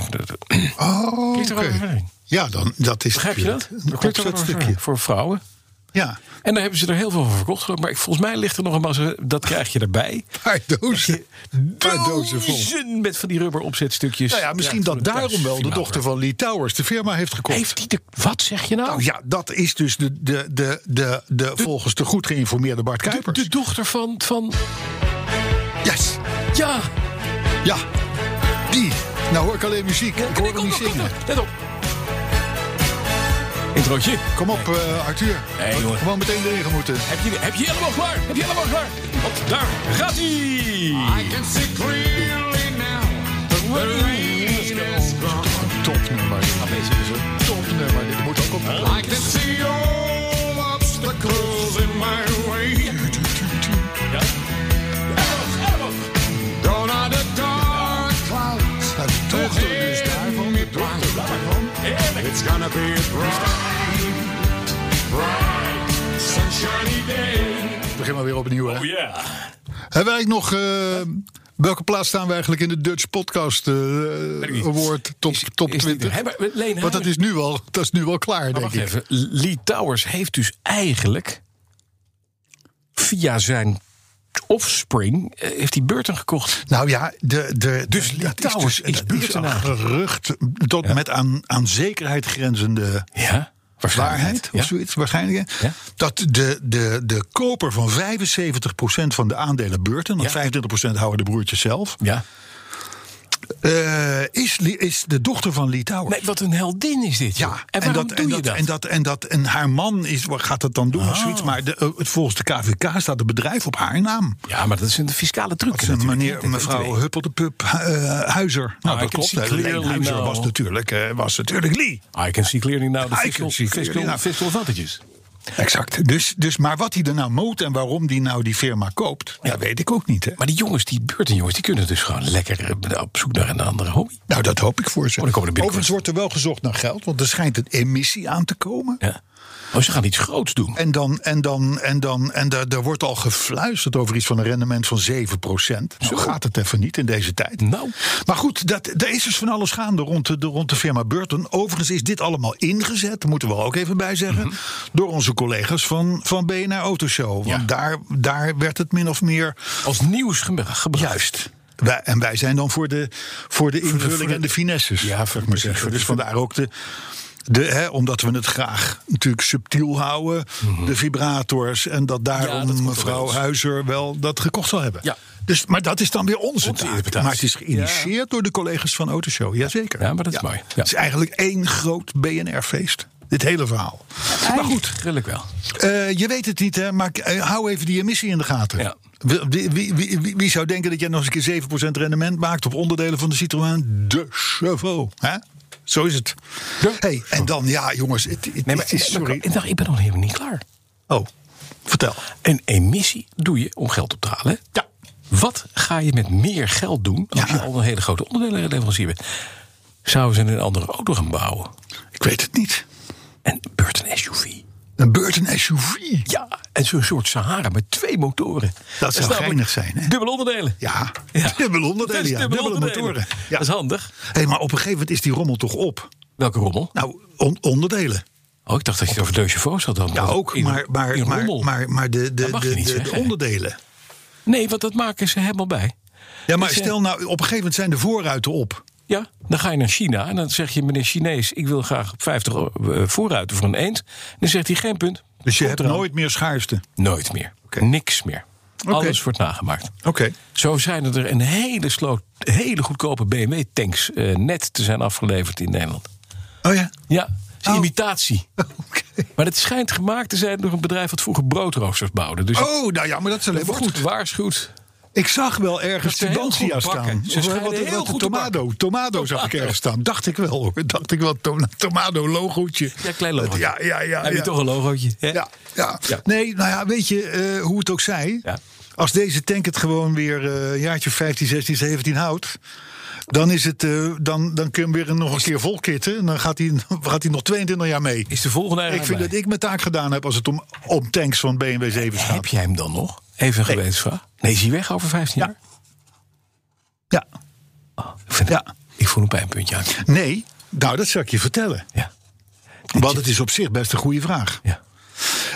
C: Oh,
B: Klinkt er al
C: oké.
B: verder.
C: Ja, dan, dat is
B: Begrijp je dat?
C: natuurlijk Een
B: Klinkt er al
C: opzetstukje.
B: verder. Voor vrouwen.
C: Ja,
B: En daar hebben ze er heel veel van verkocht, geloof ik. Maar ik- volgens mij ligt er nog een massa... dat krijg je erbij.
C: paar dozen. Paar dozen vol.
B: Dozen met van die rubber opzetstukjes.
C: Nou ja, misschien
B: Ja,
C: dat
B: voor de
C: daarom wel de
B: thuisvibrator.
C: dochter van Lee Towers de firma heeft gekocht.
B: Heeft die de... Wat zeg je nou?
C: Nou ja, dat is dus de, de, de, de, de, volgens de goed geïnformeerde Bart
B: de,
C: Kuipers.
B: de dochter van... van
C: Yes,
B: ja,
C: ja. Die. Nou hoor ik alleen muziek. Ik hoor hem niet zingen.
B: Let op. Introotje.
C: Kom op, eh, Arthur.
B: Nee,
C: We-
B: jongen.
C: Gewoon meteen erin moeten.
B: Heb je, heb je helemaal klaar? Heb je helemaal klaar? Want daar gaat
C: Ah,
B: hij.
C: Topnummer. Topnummer. Dit moet ook op.
D: Gone are the dark clouds up is bright, bright, sunshiny day.
C: Begin maar weer opnieuw, hè?
D: Oh yeah.
C: Hebben wij nog... eh, welke plaats staan we eigenlijk in de Dutch Podcast eh,
B: niet.
C: Award top,
B: Is-
C: top
B: is niet
C: 20?
B: er. Hey, maar Leen
C: Want
B: Hamer-
C: dat is nu al, dat is nu al klaar,
B: Maar
C: denk
B: wacht
C: ik.
B: even. Lee Towers heeft dus eigenlijk via zijn offspring eh, heeft hij Burton gekocht.
C: Nou ja, de, de,
B: Dus
C: de,
B: Lee
C: dat
B: Towers is
C: dat een
B: buurtenaar.
C: gerucht tot met aan, aan zekerheid grenzende
B: Ja,
C: waarheid of
B: Ja.
C: zoiets waarschijnlijk. hè?
B: Ja.
C: Dat de, de, de koper van 75% van de aandelen Burton, want
B: Ja.
C: 25% houden de broertjes zelf,
B: ja.
C: eh, is, Lee- is de dochter van Lee Towers.
B: Nee, wat een heldin is dit. joh.
C: Ja,
B: en waarom
C: dat,
B: doe
C: en
B: je
C: dat,
B: dat? Oh.
C: En, dat, en, dat, en haar man is, wat gaat dat dan doen? of Zoiets, maar de, eh, volgens de KVK staat het bedrijf op haar naam.
B: ja, maar dat is een fiscale
C: Dat
B: truc.
C: is een
B: natuurlijk.
C: meneer,
B: Dat- dat
C: mevrouw
B: weet ik. Oh,
C: Huppel de Pup eh, Huizer. Nou,
B: I
C: dat
B: can
C: klopt.
B: see
C: hè. Leen
B: clearly
C: Huizer
B: now.
C: was natuurlijk, eh, was natuurlijk Lee.
B: I can see clearly now the
C: I
B: fiscal,
C: can see clearly
B: fiscal,
C: now.
B: fiscal advantages.
C: Exact. Dus, dus, maar wat hij er nou moet en waarom hij nou die firma koopt, dat weet ik ook niet. Hè?
B: Maar die jongens, die Burton jongens, die kunnen dus gewoon lekker eh, op zoek naar een andere hobby.
C: Nou, dat hoop ik voor ze.
B: Oh, dan komen er binnenkort-
C: Overigens wordt er wel gezocht naar geld, want er schijnt een emissie aan te komen.
B: Ja. Oh, ze gaan iets groots doen.
C: En dan, en dan, en dan, en daar, daar wordt al gefluisterd over iets van een rendement van 7 Zo gaat het even niet in deze tijd.
B: Nou.
C: Maar goed, dat, er is dus van alles gaande rond de, de- rond de firma Burton. Overigens is dit allemaal ingezet, daar moeten we er ook even bij zeggen.
B: Mhm.
C: Door onze collega's van, van BNR Autoshow. Want
B: Ja.
C: daar, daar werd het min of meer
B: Als nieuws gebra- gebracht.
C: juist. Wij, en wij zijn dan voor de, voor de invulling
B: voor de-
C: en de finesses.
B: Ja,
C: zou ik
B: voor-
C: maar
B: precies,
C: zeggen.
B: voor de-
C: Dus vandaar ook de. De, hè, omdat we het graag natuurlijk subtiel houden, de vibrators. En dat
B: Mhm. Ja,
C: daarom
B: dat komt er bij
C: mevrouw
B: ons.
C: Huizer wel dat gekocht zal hebben.
B: Ja.
C: Dus, maar dat is dan weer onze,
B: Onze
C: taak.
B: interpretatie.
C: Maar het is geïnitieerd door de collega's van Autoshow. Jazeker.
B: Ja, maar dat is mooi. Ja.
C: Het is eigenlijk één groot BNR-feest. Dit hele verhaal.
B: Maar goed, gelukkig wel.
C: Eh, je weet het niet, hè, maar eh, hou even die emissie in de gaten.
B: Ja.
C: Wie, wie, wie, wie- wie zou denken dat jij nog eens een keer 7% rendement maakt op onderdelen van de Citroën? De Chevaux. Hè? Zo is het.
B: De-
C: Hey, en dan, ja jongens, het, het-
B: Nee, maar
C: het is, sorry.
B: Ik dacht, ik ben nog helemaal niet klaar.
C: Oh, vertel.
B: Een emissie doe je om geld op te halen. hè?
C: Ja.
B: Wat ga je met meer geld doen als
C: Ja.
B: je al een hele grote onderdelenleverancier bent? Zouden ze een andere auto gaan bouwen?
C: Ik weet het niet.
B: En Beurt een SUV.
C: Een Burton SUV.
B: Ja, en zo'n soort Sahara met twee motoren.
C: zou
B: is namelijk
C: geinig zijn, hè?
B: Dubbel onderdelen.
C: Ja,
B: Ja.
C: dubbel
B: Dat
C: onderdelen.
B: is
C: Ja.
B: dubbel
C: Dubbele
B: onderdelen.
C: motoren. Ja.
B: Dat is handig.
C: Hey, maar op een gegeven moment is die rommel toch op?
B: Welke rommel?
C: Nou, on- onderdelen.
B: Oh, ik dacht dat je het over De Chevaux had dan.
C: Ja, ook,
B: In-
C: maar, maar,
B: in
C: maar,
B: rommel.
C: maar, maar de, de,
B: Dat mag je
C: de-
B: niet
C: de- de
B: zeggen, hè?
C: onderdelen.
B: Nee, want dat maken ze helemaal bij.
C: Ja, maar
B: Dus, eh,
C: stel nou, op een gegeven moment zijn de voorruiten op.
B: Ja, dan ga je naar China en dan zeg je, meneer Chinees, ik wil graag 50 euro, eh, voorruiten voor een eend. Dan zegt hij geen punt.
C: Dus je
B: Komt
C: hebt
B: eraan.
C: nooit meer schaarste.
B: Nooit meer.
C: Oké.
B: Niks meer.
C: Oké.
B: Alles wordt nagemaakt.
C: Oké.
B: Zo zijn er een hele sloot, hele goedkope BMW-tanks eh, net te zijn afgeleverd in Nederland.
C: Oh ja.
B: Ja, dat is een
C: Oh.
B: imitatie. Maar het schijnt gemaakt te zijn door een bedrijf dat vroeger broodroosters bouwde. Dus
C: Oh, nou ja, maar dat is alleen maar
B: wordt
C: goed.
B: gewaarschuwd.
C: Ik zag wel
B: Dat
C: ergens
B: ze heel
C: Tubantia
B: goed bakken.
C: staan.
B: Ze
C: Of, eh,
B: schijnen heel
C: wat,
B: goed te
C: Tomado. Tomado zag ik ergens staan. Dacht ik wel hoor. Dacht ik wel. to- Tomado-logootje.
B: Ja, klein logootje.
C: Ja, ja, ja.
B: Heb je
C: Ah, ja.
B: toch een logootje? hè?
C: Ja, ja.
B: Ja.
C: Nee, nou ja, weet je eh, hoe het ook zij.
B: Ja.
C: Als deze tank het gewoon weer eh, een jaartje 15, 16, 17 houdt. Dan, is het, eh, dan, dan kun je hem weer nog een keer volkitten. En dan gaat hij, gaat hij nog 22 jaar mee.
B: Is de volgende
C: Ik
B: eigenaar
C: vind
B: bij?
C: dat ik mijn taak gedaan heb als het om, om tanks van BMW 7 gaat.
B: Heb jij hem dan nog? Even een
C: Nee.
B: gewetensvraag. Nee, is hij weg over 15 jaar?
C: Ja.
B: Ik, Oh, vind
C: Ja.
B: het- ik voel een pijnpuntje aan.
C: Nee, nou dat zal ik je vertellen.
B: Ja.
C: Want het is op zich best een goede vraag.
B: Ja.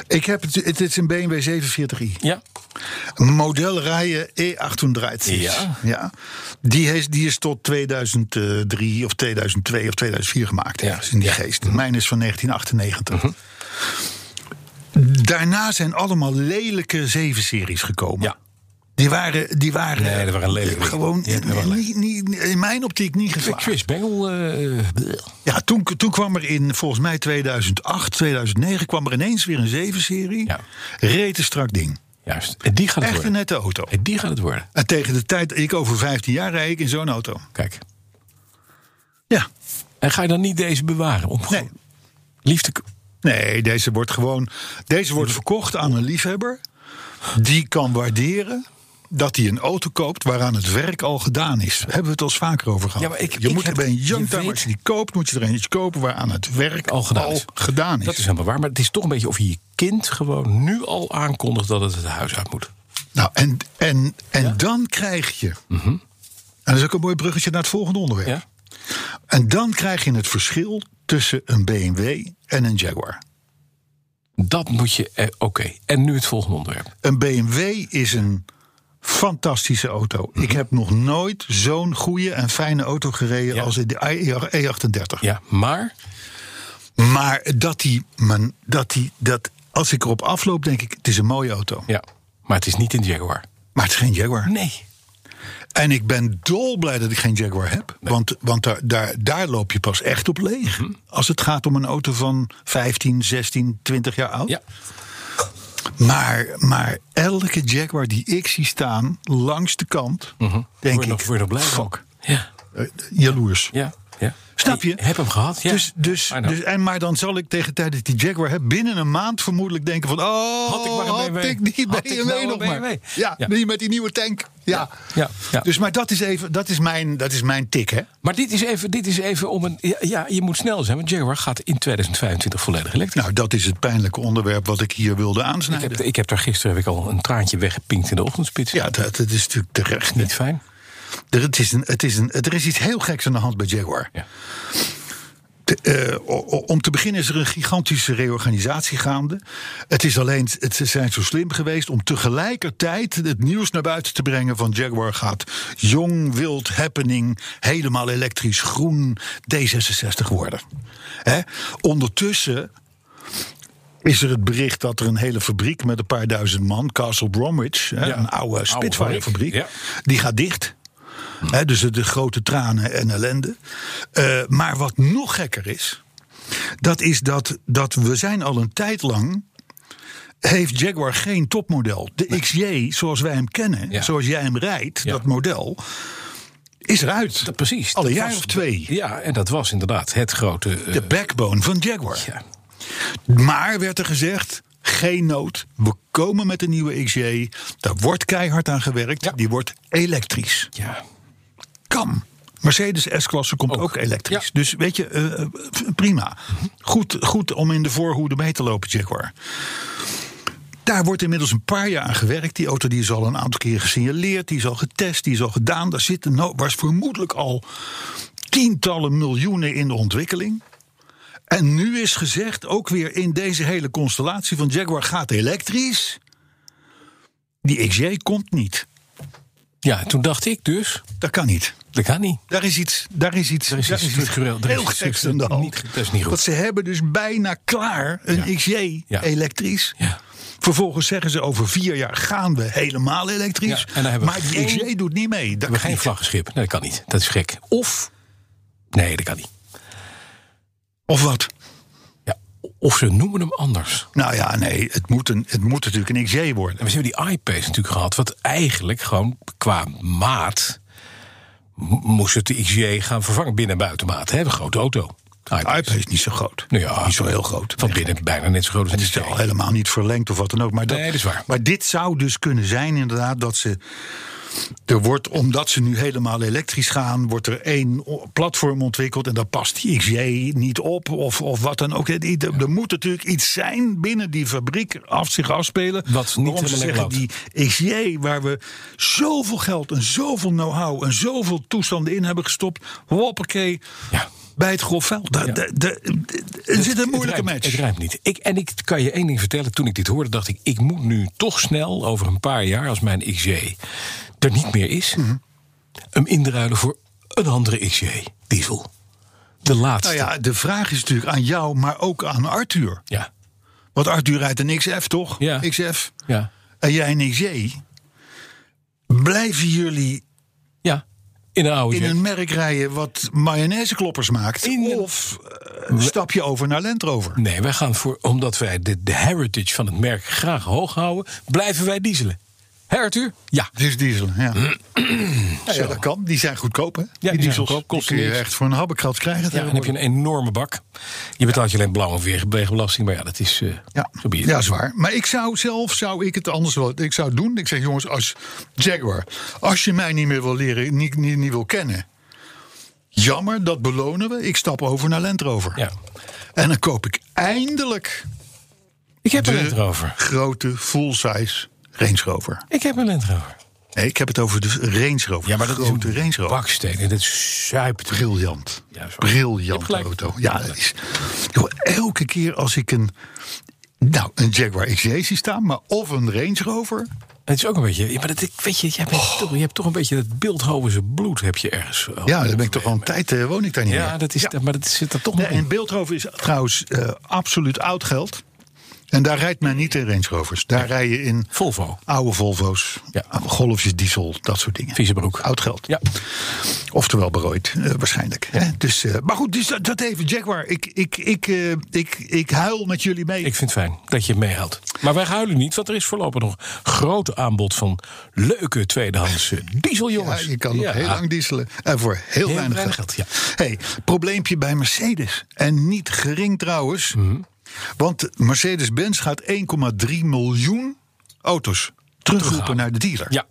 C: Ik heb het, het is een BMW 47i.
B: Ja.
C: Modelreihe E38.
B: Ja.
C: E Die, is, die is tot 2003 of 2002 of 2004 gemaakt.
B: Ja.
C: ergens in die
B: Ja. Mhm.
C: geest. Mijn is van 1998. Daarna zijn allemaal lelijke 7-series gekomen.
B: Ja.
C: Die waren, die waren,
B: Nee, dat waren lelijke dingen.
C: gewoon
B: Die hebben we wel
C: niet, niet, in mijn optiek niet geslaagd.
B: Chris Bengel. eh,
C: Ja, toen, toen kwam er in, volgens mij 2008, 2009, kwam er ineens weer een 7-serie.
B: Ja.
C: Reet een strak ding.
B: juist. En die gaat het
C: Echt een eh,
B: worden.
C: nette auto.
B: En die gaat het worden.
C: En tegen de tijd, ik over 15 jaar rijd ik in zo'n auto.
B: Kijk.
C: Ja,
B: En ga je dan niet deze bewaren? Om
C: nee.
B: gewoon liefde.
C: Nee, deze wordt gewoon, deze wordt verkocht aan een liefhebber. Die kan waarderen. dat hij een auto koopt waaraan het werk al gedaan is. Hebben we het al eens vaker over gehad.
B: Ja, maar ik-
C: je
B: ik
C: moet
B: heb-
C: bij een
B: je
C: youngtimer,
B: weet-
C: als je die koopt, moet je er eentje kopen waaraan het werk al gedaan is.
B: Dat is helemaal waar. Maar het is toch een beetje of je je kind gewoon nu al aankondigt dat het het huis uit moet.
C: Nou, en, en, en dan krijg je. En dat is ook een mooi bruggetje naar het volgende onderwerp.
B: Mhm. Ja?
C: En dan krijg je het verschil tussen een BMW en een Jaguar.
B: Dat moet je. eh, Oké. En nu het volgende onderwerp.
C: Een BMW is een fantastische auto.
B: Mhm.
C: Ik heb nog nooit zo'n goede en fijne auto gereden
B: Ja.
C: als in de E E38.
B: Ja, maar.
C: Maar dat die, men, dat die, dat als ik erop afloop, denk ik, het is een mooie auto.
B: Ja. Maar het is niet in Jaguar.
C: Maar het is geen Jaguar.
B: Nee.
C: En ik ben dolblij dat ik geen Jaguar heb. Want, want daar, daar, daar loop je pas echt op leeg.
B: Mhm.
C: Als het gaat om een auto van 15, 16, 20 jaar oud.
B: Ja.
C: Maar, maar elke Jaguar die ik zie staan langs de kant, denk
B: Mhm. Word je
C: ik,
B: nog- word je nog blij van?
C: fuck,
B: Ja.
C: eh, jaloers.
B: Ja. ja.
C: Snap je?
B: Ik heb hem gehad. Ja.
C: Dus, dus,
B: I know.
C: dus, en maar dan zal ik tegen de tijd dat ik die Jaguar heb, binnen een maand vermoedelijk denken van... Oh,
B: Had ik maar een
C: had
B: BMW.
C: ik die
B: Had ik
C: BMW
B: nou een
C: nog maar.
B: BMW.
C: Ja,
B: Ja.
C: die met die nieuwe tank. Ja.
B: Ja, ja.
C: Dus maar dat is, even, dat is, mijn, dat is mijn tik, hè?
B: Maar dit is even, dit is even om een. Ja, ja, je moet snel zijn, want Jaguar gaat in 2025 volledig elektrisch.
C: Nou, dat is het pijnlijke onderwerp wat ik hier wilde
B: ik, heb,
C: aansnijden.
B: ik heb daar gisteren heb ik al een traantje weggepinkt in de ochtendspits.
C: Ja, dat, dat is natuurlijk terecht.
B: Niet fijn.
C: Er, het is een, het is een, er is iets heel geks aan de hand bij Jaguar.
B: Ja.
C: Te- eh, o- o- om te beginnen is er een gigantische reorganisatie gaande. Het is alleen, het, ze zijn zo slim geweest om tegelijkertijd het nieuws naar buiten te brengen van Jaguar gaat jong, wild, happening, helemaal elektrisch, groen, D66 worden. Hè? Ondertussen is er het bericht dat er een hele fabriek met een paar duizend man, Castle Bromwich, hè,
B: Ja,
C: een oude
B: oude
C: Spitfire-fabriek,
B: fabriek,
C: die gaat dicht. Hè, dus de grote tranen en ellende. Eh, maar wat nog gekker is, dat is dat, dat we zijn al een tijd lang. Heeft Jaguar geen topmodel? De XJ, zoals wij hem kennen,
B: Ja.
C: zoals jij hem rijdt,
B: Ja.
C: dat model, is eruit.
B: Dat, precies.
C: Al een
B: Dat
C: jaar
B: was-
C: of twee.
B: Ja, en dat was inderdaad het grote. eh,
C: De backbone van Jaguar.
B: ja.
C: Maar werd er gezegd. Geen nood, we komen met een nieuwe XJ. Daar wordt keihard aan gewerkt. Die wordt elektrisch.
B: ja.
C: Kan. Mercedes S-klasse komt ook,
B: Ook.
C: elektrisch.
B: Ja.
C: Dus weet je, eh, eh, prima. Goed, goed om in de voorhoede mee te lopen, Jaguar. Daar wordt inmiddels een paar jaar aan gewerkt. Die auto die is al een aantal keer gesignaleerd, die is al getest, die is al gedaan. Daar zitten nou, was vermoedelijk al tientallen miljoenen in de ontwikkeling. En nu is gezegd, ook weer in deze hele constellatie van Jaguar gaat elektrisch. Die XJ komt niet.
B: ja, toen dacht ik dus.
C: Dat kan niet.
B: Dat kan niet.
C: Daar is iets, daar is iets,
B: Er is
C: daar
B: iets structureel, er is
C: heel
B: iets
C: geks aan
B: structureel
C: de hand.
B: niet- dat is niet goed.
C: Want ze hebben dus bijna klaar een
B: Ja.
C: XJ
B: Ja.
C: elektrisch.
B: Ja.
C: Vervolgens zeggen ze over vier jaar gaan we helemaal elektrisch.
B: Ja, en dan hebben we
C: maar die
B: geen-
C: XJ doet niet mee. Dat
B: We
C: kan
B: hebben geen
C: niet.
B: vlaggenschip. Nee, dat kan niet. Dat is gek. Of. Nee, dat kan niet.
C: Of wat?
B: Ja. Of ze noemen hem anders.
C: Nou ja, nee, het moet, een, het moet natuurlijk een XJ worden.
B: En we hebben die iPace natuurlijk gehad, wat eigenlijk gewoon qua maat m- moest het de XJ gaan vervangen binnen en buitenmaat. Hè? Een grote auto. iPace.
C: iPad is niet zo groot.
B: Nou ja,
C: niet zo heel groot.
B: Van binnen bijna net zo groot als
C: Het
B: een
C: is al
B: XJ.
C: helemaal niet verlengd of wat dan ook. Maar, dat,
B: Nee, dat is waar.
C: maar dit zou dus kunnen zijn inderdaad dat ze... Er wordt, omdat ze nu helemaal elektrisch gaan, wordt er één o- platform ontwikkeld... en daar past die XJ niet op of, of wat dan ook. Er, er- er moet natuurlijk iets zijn binnen die fabriek af zich afspelen...
B: Wat niet
C: waarom ze
B: helemaal
C: zeggen, die
B: loopt.
C: XJ, waar we zoveel geld en zoveel know-how... en zoveel toestanden in hebben gestopt, hoppakee,
B: Ja.
C: bij het grof vuil. Da-
B: Ja.
C: da- da- Er zit een moeilijke
B: het rijmt, Het
C: match.
B: rijmt niet. Ik, en ik kan je één ding vertellen. Toen ik dit hoorde, dacht ik... ik moet nu toch snel, over een paar jaar... als mijn XJ er niet meer is...
C: Mhm.
B: hem indruilen voor een andere XJ. Diesel. De laatste.
C: Nou ja, de vraag is natuurlijk aan jou, maar ook aan Arthur.
B: ja.
C: Want Arthur rijdt een XF, toch?
B: Ja.
C: XF.
B: Ja.
C: En jij een XJ. Blijven jullie
B: Ja. In een oude
C: in
B: Jack.
C: een merk rijden wat mayonaise-kloppers maakt?
B: In een-
C: Of eh, stap je over naar Land Rover?
B: Nee, wij gaan voor... omdat wij de, de heritage van het merk graag hoog houden... blijven wij dieselen. Hé Arthur? Ja.
C: Dus diesel, ja. ja, ja, dat kan. Die zijn goedkoop, hè?
B: die zijn
C: diesels.
B: goedkoop, kosten
C: die kun je
B: niks.
C: echt voor een habbekrat krijgen.
B: Ja, dan heb je een enorme bak. Je betaalt je alleen blauw en wegenbelasting. Maar ja, dat is... eh
C: Ja,
B: zo ben je.
C: ja, zwaar. Maar ik zou zelf zou ik het anders wel. Ik zou het doen. Ik zeg, jongens, als Jaguar, als je mij niet meer wil leren, niet, niet, niet wil kennen. Jammer, dat belonen we. Ik stap over naar Land Rover.
B: Ja.
C: En dan koop ik eindelijk
B: Ik heb een
C: de
B: Land Rover.
C: grote full-size Range Rover.
B: Ik heb een Land Rover.
C: Nee, ik heb het over de Range Rover. de grote Range Rover.
B: baksteen. En dat zuipt.
C: Briljant.
B: Ja, sorry. Je hebt
C: Briljant
B: gelijk.
C: auto. Ja, dat is. Joh, elke keer als ik een. Nou, een Jaguar XJ zie staan, maar of een Range Rover.
B: Het is ook een beetje... ja, maar dat, weet je, jij bent toch, je hebt toch een beetje dat Beeldhovense bloed heb je ergens. eh,
C: Ja, daar ben ik toch al een tijd, eh, woon ik daar niet meer.
B: Ja, dat is, maar dat zit er toch
C: Nee,
B: nog in.
C: en Beeldhoven is trouwens eh, absoluut oud geld. En daar rijdt men niet in Range Rovers. Daar rij je in
B: Volvo.
C: oude Volvo's,
B: Ja.
C: oude golfjes, diesel, dat soort dingen.
B: Vieze broek.
C: Oud geld.
B: Ja.
C: Oftewel berooid, eh, waarschijnlijk. Hè? Dus, eh, maar goed, dus dat, dat even Jaguar. Ik, ik, ik, eh, ik, ik huil met jullie mee.
B: Ik vind het fijn dat je het meehoudt. Maar wij huilen niet, want er is voorlopig nog groot aanbod van leuke tweedehands eh,
C: ja,
B: dieseljongens.
C: je kan nog
B: Ja.
C: heel lang dieselen. En voor heel,
B: Heel
C: weinig,
B: weinig
C: geld.
B: geld,
C: hey, probleempje bij Mercedes. En niet gering trouwens.
B: Mhm.
C: Want Mercedes-Benz gaat 1,3 miljoen auto's terugroepen naar de dealer.
B: Ja.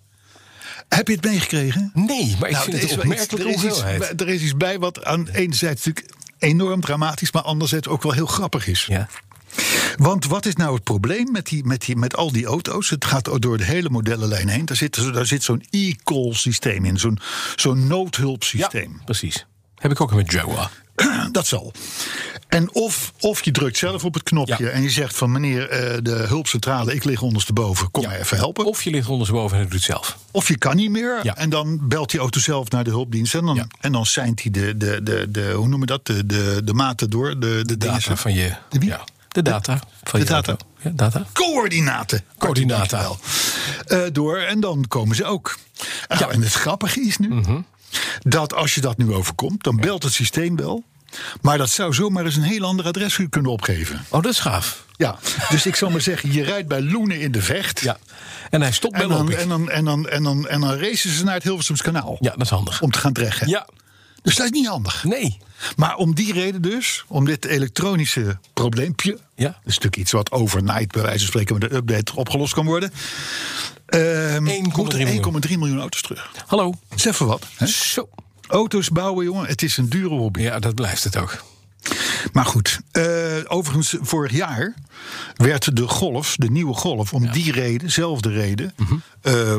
C: Heb je het meegekregen?
B: Nee, maar ik
C: Nou,
B: vind
C: er
B: het
C: is
B: een
C: wel iets-
B: opmerkelijke
C: er is iets-
B: hoeveelheid.
C: Er is iets bij wat aan enerzijds natuurlijk enorm dramatisch... maar anderzijds ook wel heel grappig is.
B: Ja.
C: Want wat is nou het probleem met, die, met, die, met al die auto's? Het gaat ook door de hele modellenlijn heen. Daar zit, daar zit zo'n e-call systeem in, zo'n zo'n
B: ja,
C: noodhulpsysteem.
B: precies. Heb ik ook met Jaguar.
C: Dat zal. En of, of je drukt zelf op het knopje
B: Ja.
C: en je zegt van meneer eh, de hulpcentrale, ik lig ondersteboven, kom mij even helpen. Of,
B: Of je ligt ondersteboven en het doet het zelf.
C: je kan niet meer
B: Ja.
C: en dan belt die auto zelf naar de hulpdienst en dan,
B: Ja.
C: en dan seint hij de, de, de, de, hoe noemen we dat, de, de, de maten door, de, de, dingen
B: Data
C: zo.
B: van je.
C: De wie?
B: ja, de data. Van
C: de
B: je auto.
C: data.
B: Ja, data.
C: coördinaten.
B: Coördinaten.
C: Dankjewel. Eh, door en dan komen ze ook. Nou, En het grappige is nu
B: Mhm.
C: dat als je dat nu overkomt, dan belt het systeem wel. Maar dat zou zomaar eens een heel ander adres kunnen opgeven.
B: Oh, dat is gaaf.
C: Ja, dus ik zal maar zeggen, je rijdt bij Loenen in de Vecht.
B: Ja. En hij stopt bij
C: En dan,
B: Lopik.
C: en, dan, en, dan, en, dan, en dan racen ze naar het Hilversums kanaal.
B: Ja, dat is handig.
C: Om te gaan dreggen.
B: Ja.
C: Dus dat is niet handig.
B: Nee.
C: Maar om die reden dus, om dit elektronische probleempje.
B: Ja.
C: Dat is natuurlijk iets wat overnight, bij wijze van spreken, met een update opgelost kan worden. ehm,
B: 1,3
C: moeten
B: miljoen.
C: 1,3 miljoen auto's terug.
B: Hallo.
C: Zeg even wat. Hè?
B: Zo.
C: Auto's bouwen, jongen, het is een dure hobby.
B: Ja, dat blijft het ook.
C: Maar goed, eh, overigens, vorig jaar werd de golf, de nieuwe golf, om die reden, zelfde reden,
B: Mhm.
C: eh, eh,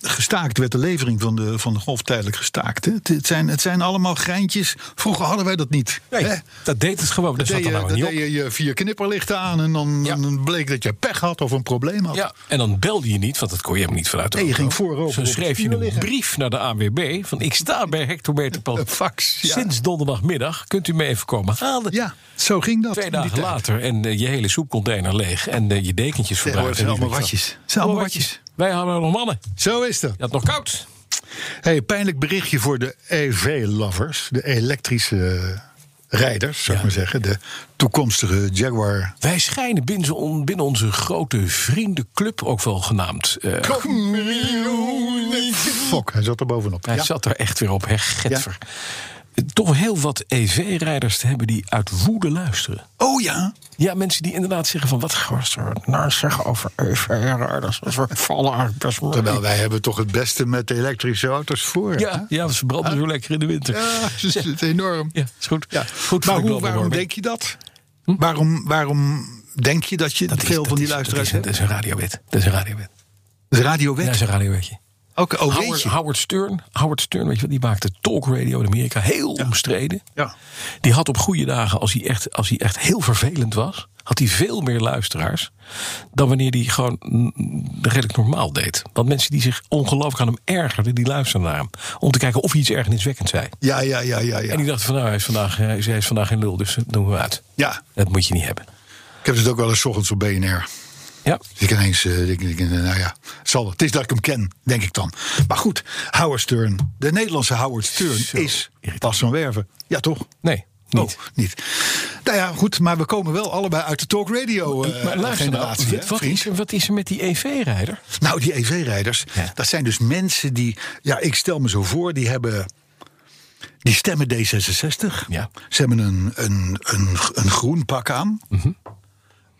C: gestaakt. Werd de levering van de, van de golf tijdelijk gestaakt. Hè? Het, het zijn, het zijn allemaal geintjes. Vroeger hadden wij dat niet.
B: Nee,
C: hè?
B: dat deed het gewoon. Dat
C: Dan
B: zat er
C: deed, je,
B: nou
C: dan
B: niet op.
C: deed je je vier knipperlichten aan en dan,
B: Ja.
C: dan bleek dat je pech had of een probleem had.
B: Ja, en dan belde je niet, want dat kon je hem niet vanuit de
C: Nee, je
B: auto.
C: ging voorover
B: Dus dan
C: op het
B: schreef je
C: stuur
B: een
C: liggen.
B: brief naar de AWB van ik sta bij
C: Een
B: hectometerplan.
C: fax, ja.
B: Sinds donderdagmiddag kunt u me even komen halen.
C: Ja, zo ging dat.
B: Twee
C: in die
B: dagen
C: tijd.
B: later en eh, je hele soepcontainer leeg en eh, je dekentjes verbruikt.
C: Tegenwoordig zijn
B: En nu weet
C: allemaal
B: ik
C: watjes.
B: dat.
C: Het zijn allemaal watjes.
B: Wij hadden nog mannen.
C: Zo is dat.
B: Je had nog koud.
C: Hey, pijnlijk berichtje voor de EV-lovers, de elektrische rijders, zou ik maar zeggen. De toekomstige Jaguar.
B: Wij schijnen binnen, zo- on- binnen onze grote vriendenclub ook wel genaamd. eh,
C: Fok, hij zat er bovenop.
B: Hij
C: Ja.
B: zat er echt weer op, hè, Getver. Eh, Toch heel wat EV-rijders te hebben die uit woede luisteren.
C: Oh ja.
B: Ja, mensen die inderdaad zeggen van... wat gaan ze nou zeggen over EV-rijders? We vallen uit best wel.
C: Terwijl wij hebben toch het beste met de elektrische auto's voor.
B: Ja, ja, ze branden zo lekker in de winter.
C: Ja, het is, het is enorm.
B: Ja, is goed.
C: Ja.
B: Goed voor
C: maar
B: de
C: hoe,
B: global
C: waarom
B: warming.
C: denk je dat? Waarom, waarom denk je Hm? dat je
B: Dat is-
C: veel
B: dat
C: van die
B: is-
C: luisteraars
B: Dat
C: hebt?
B: is, een- dat is een radiowet. Dat is een radiowet.
C: De radiowet?
B: Ja, dat is een radiowetje.
C: Ook, oh, weet
B: Howard,
C: je.
B: Howard Stern, Howard Stern, weet je wat, die maakte talk radio in Amerika heel omstreden.
C: Ja.
B: Die had op goede dagen, als hij, echt, als hij echt heel vervelend was, had hij veel meer luisteraars dan wanneer hij gewoon mm, redelijk normaal deed. Want mensen die zich ongelooflijk aan hem ergerden, die luisterden naar hem. Om te kijken of hij iets ergerniswekkends zei.
C: Ja, ja, ja, ja. ja.
B: En die dachten van nou, hij is vandaag, hij is, hij is vandaag geen lul, dus dat doen we uit.
C: ja.
B: Dat moet je niet hebben.
C: Ik heb het ook wel eens 's ochtends op BNR.
B: Ja,
C: Dus ik ineens, eh, ik, ik- nou ja, zal wel. Het is dat ik hem ken, denk ik dan. Maar goed, Howard Stern, de Nederlandse Howard Stern is Bas van Werven. Ja, toch?
B: nee, niet.
C: Oh, niet. Nou ja, goed, maar we komen wel allebei uit de talk radio eh,
B: Maar luister nou,
C: generatie.
B: wat,
C: hè,
B: wat
C: vriend?
B: is, er- wat is er met die E EV-rijder?
C: Nou, die EV-rijders,
B: Ja.
C: dat zijn dus mensen die... Ja, ik stel me zo voor, die hebben... Die stemmen D66.
B: Ja.
C: Ze hebben een, een, een, een groen pak aan.
B: Mhm.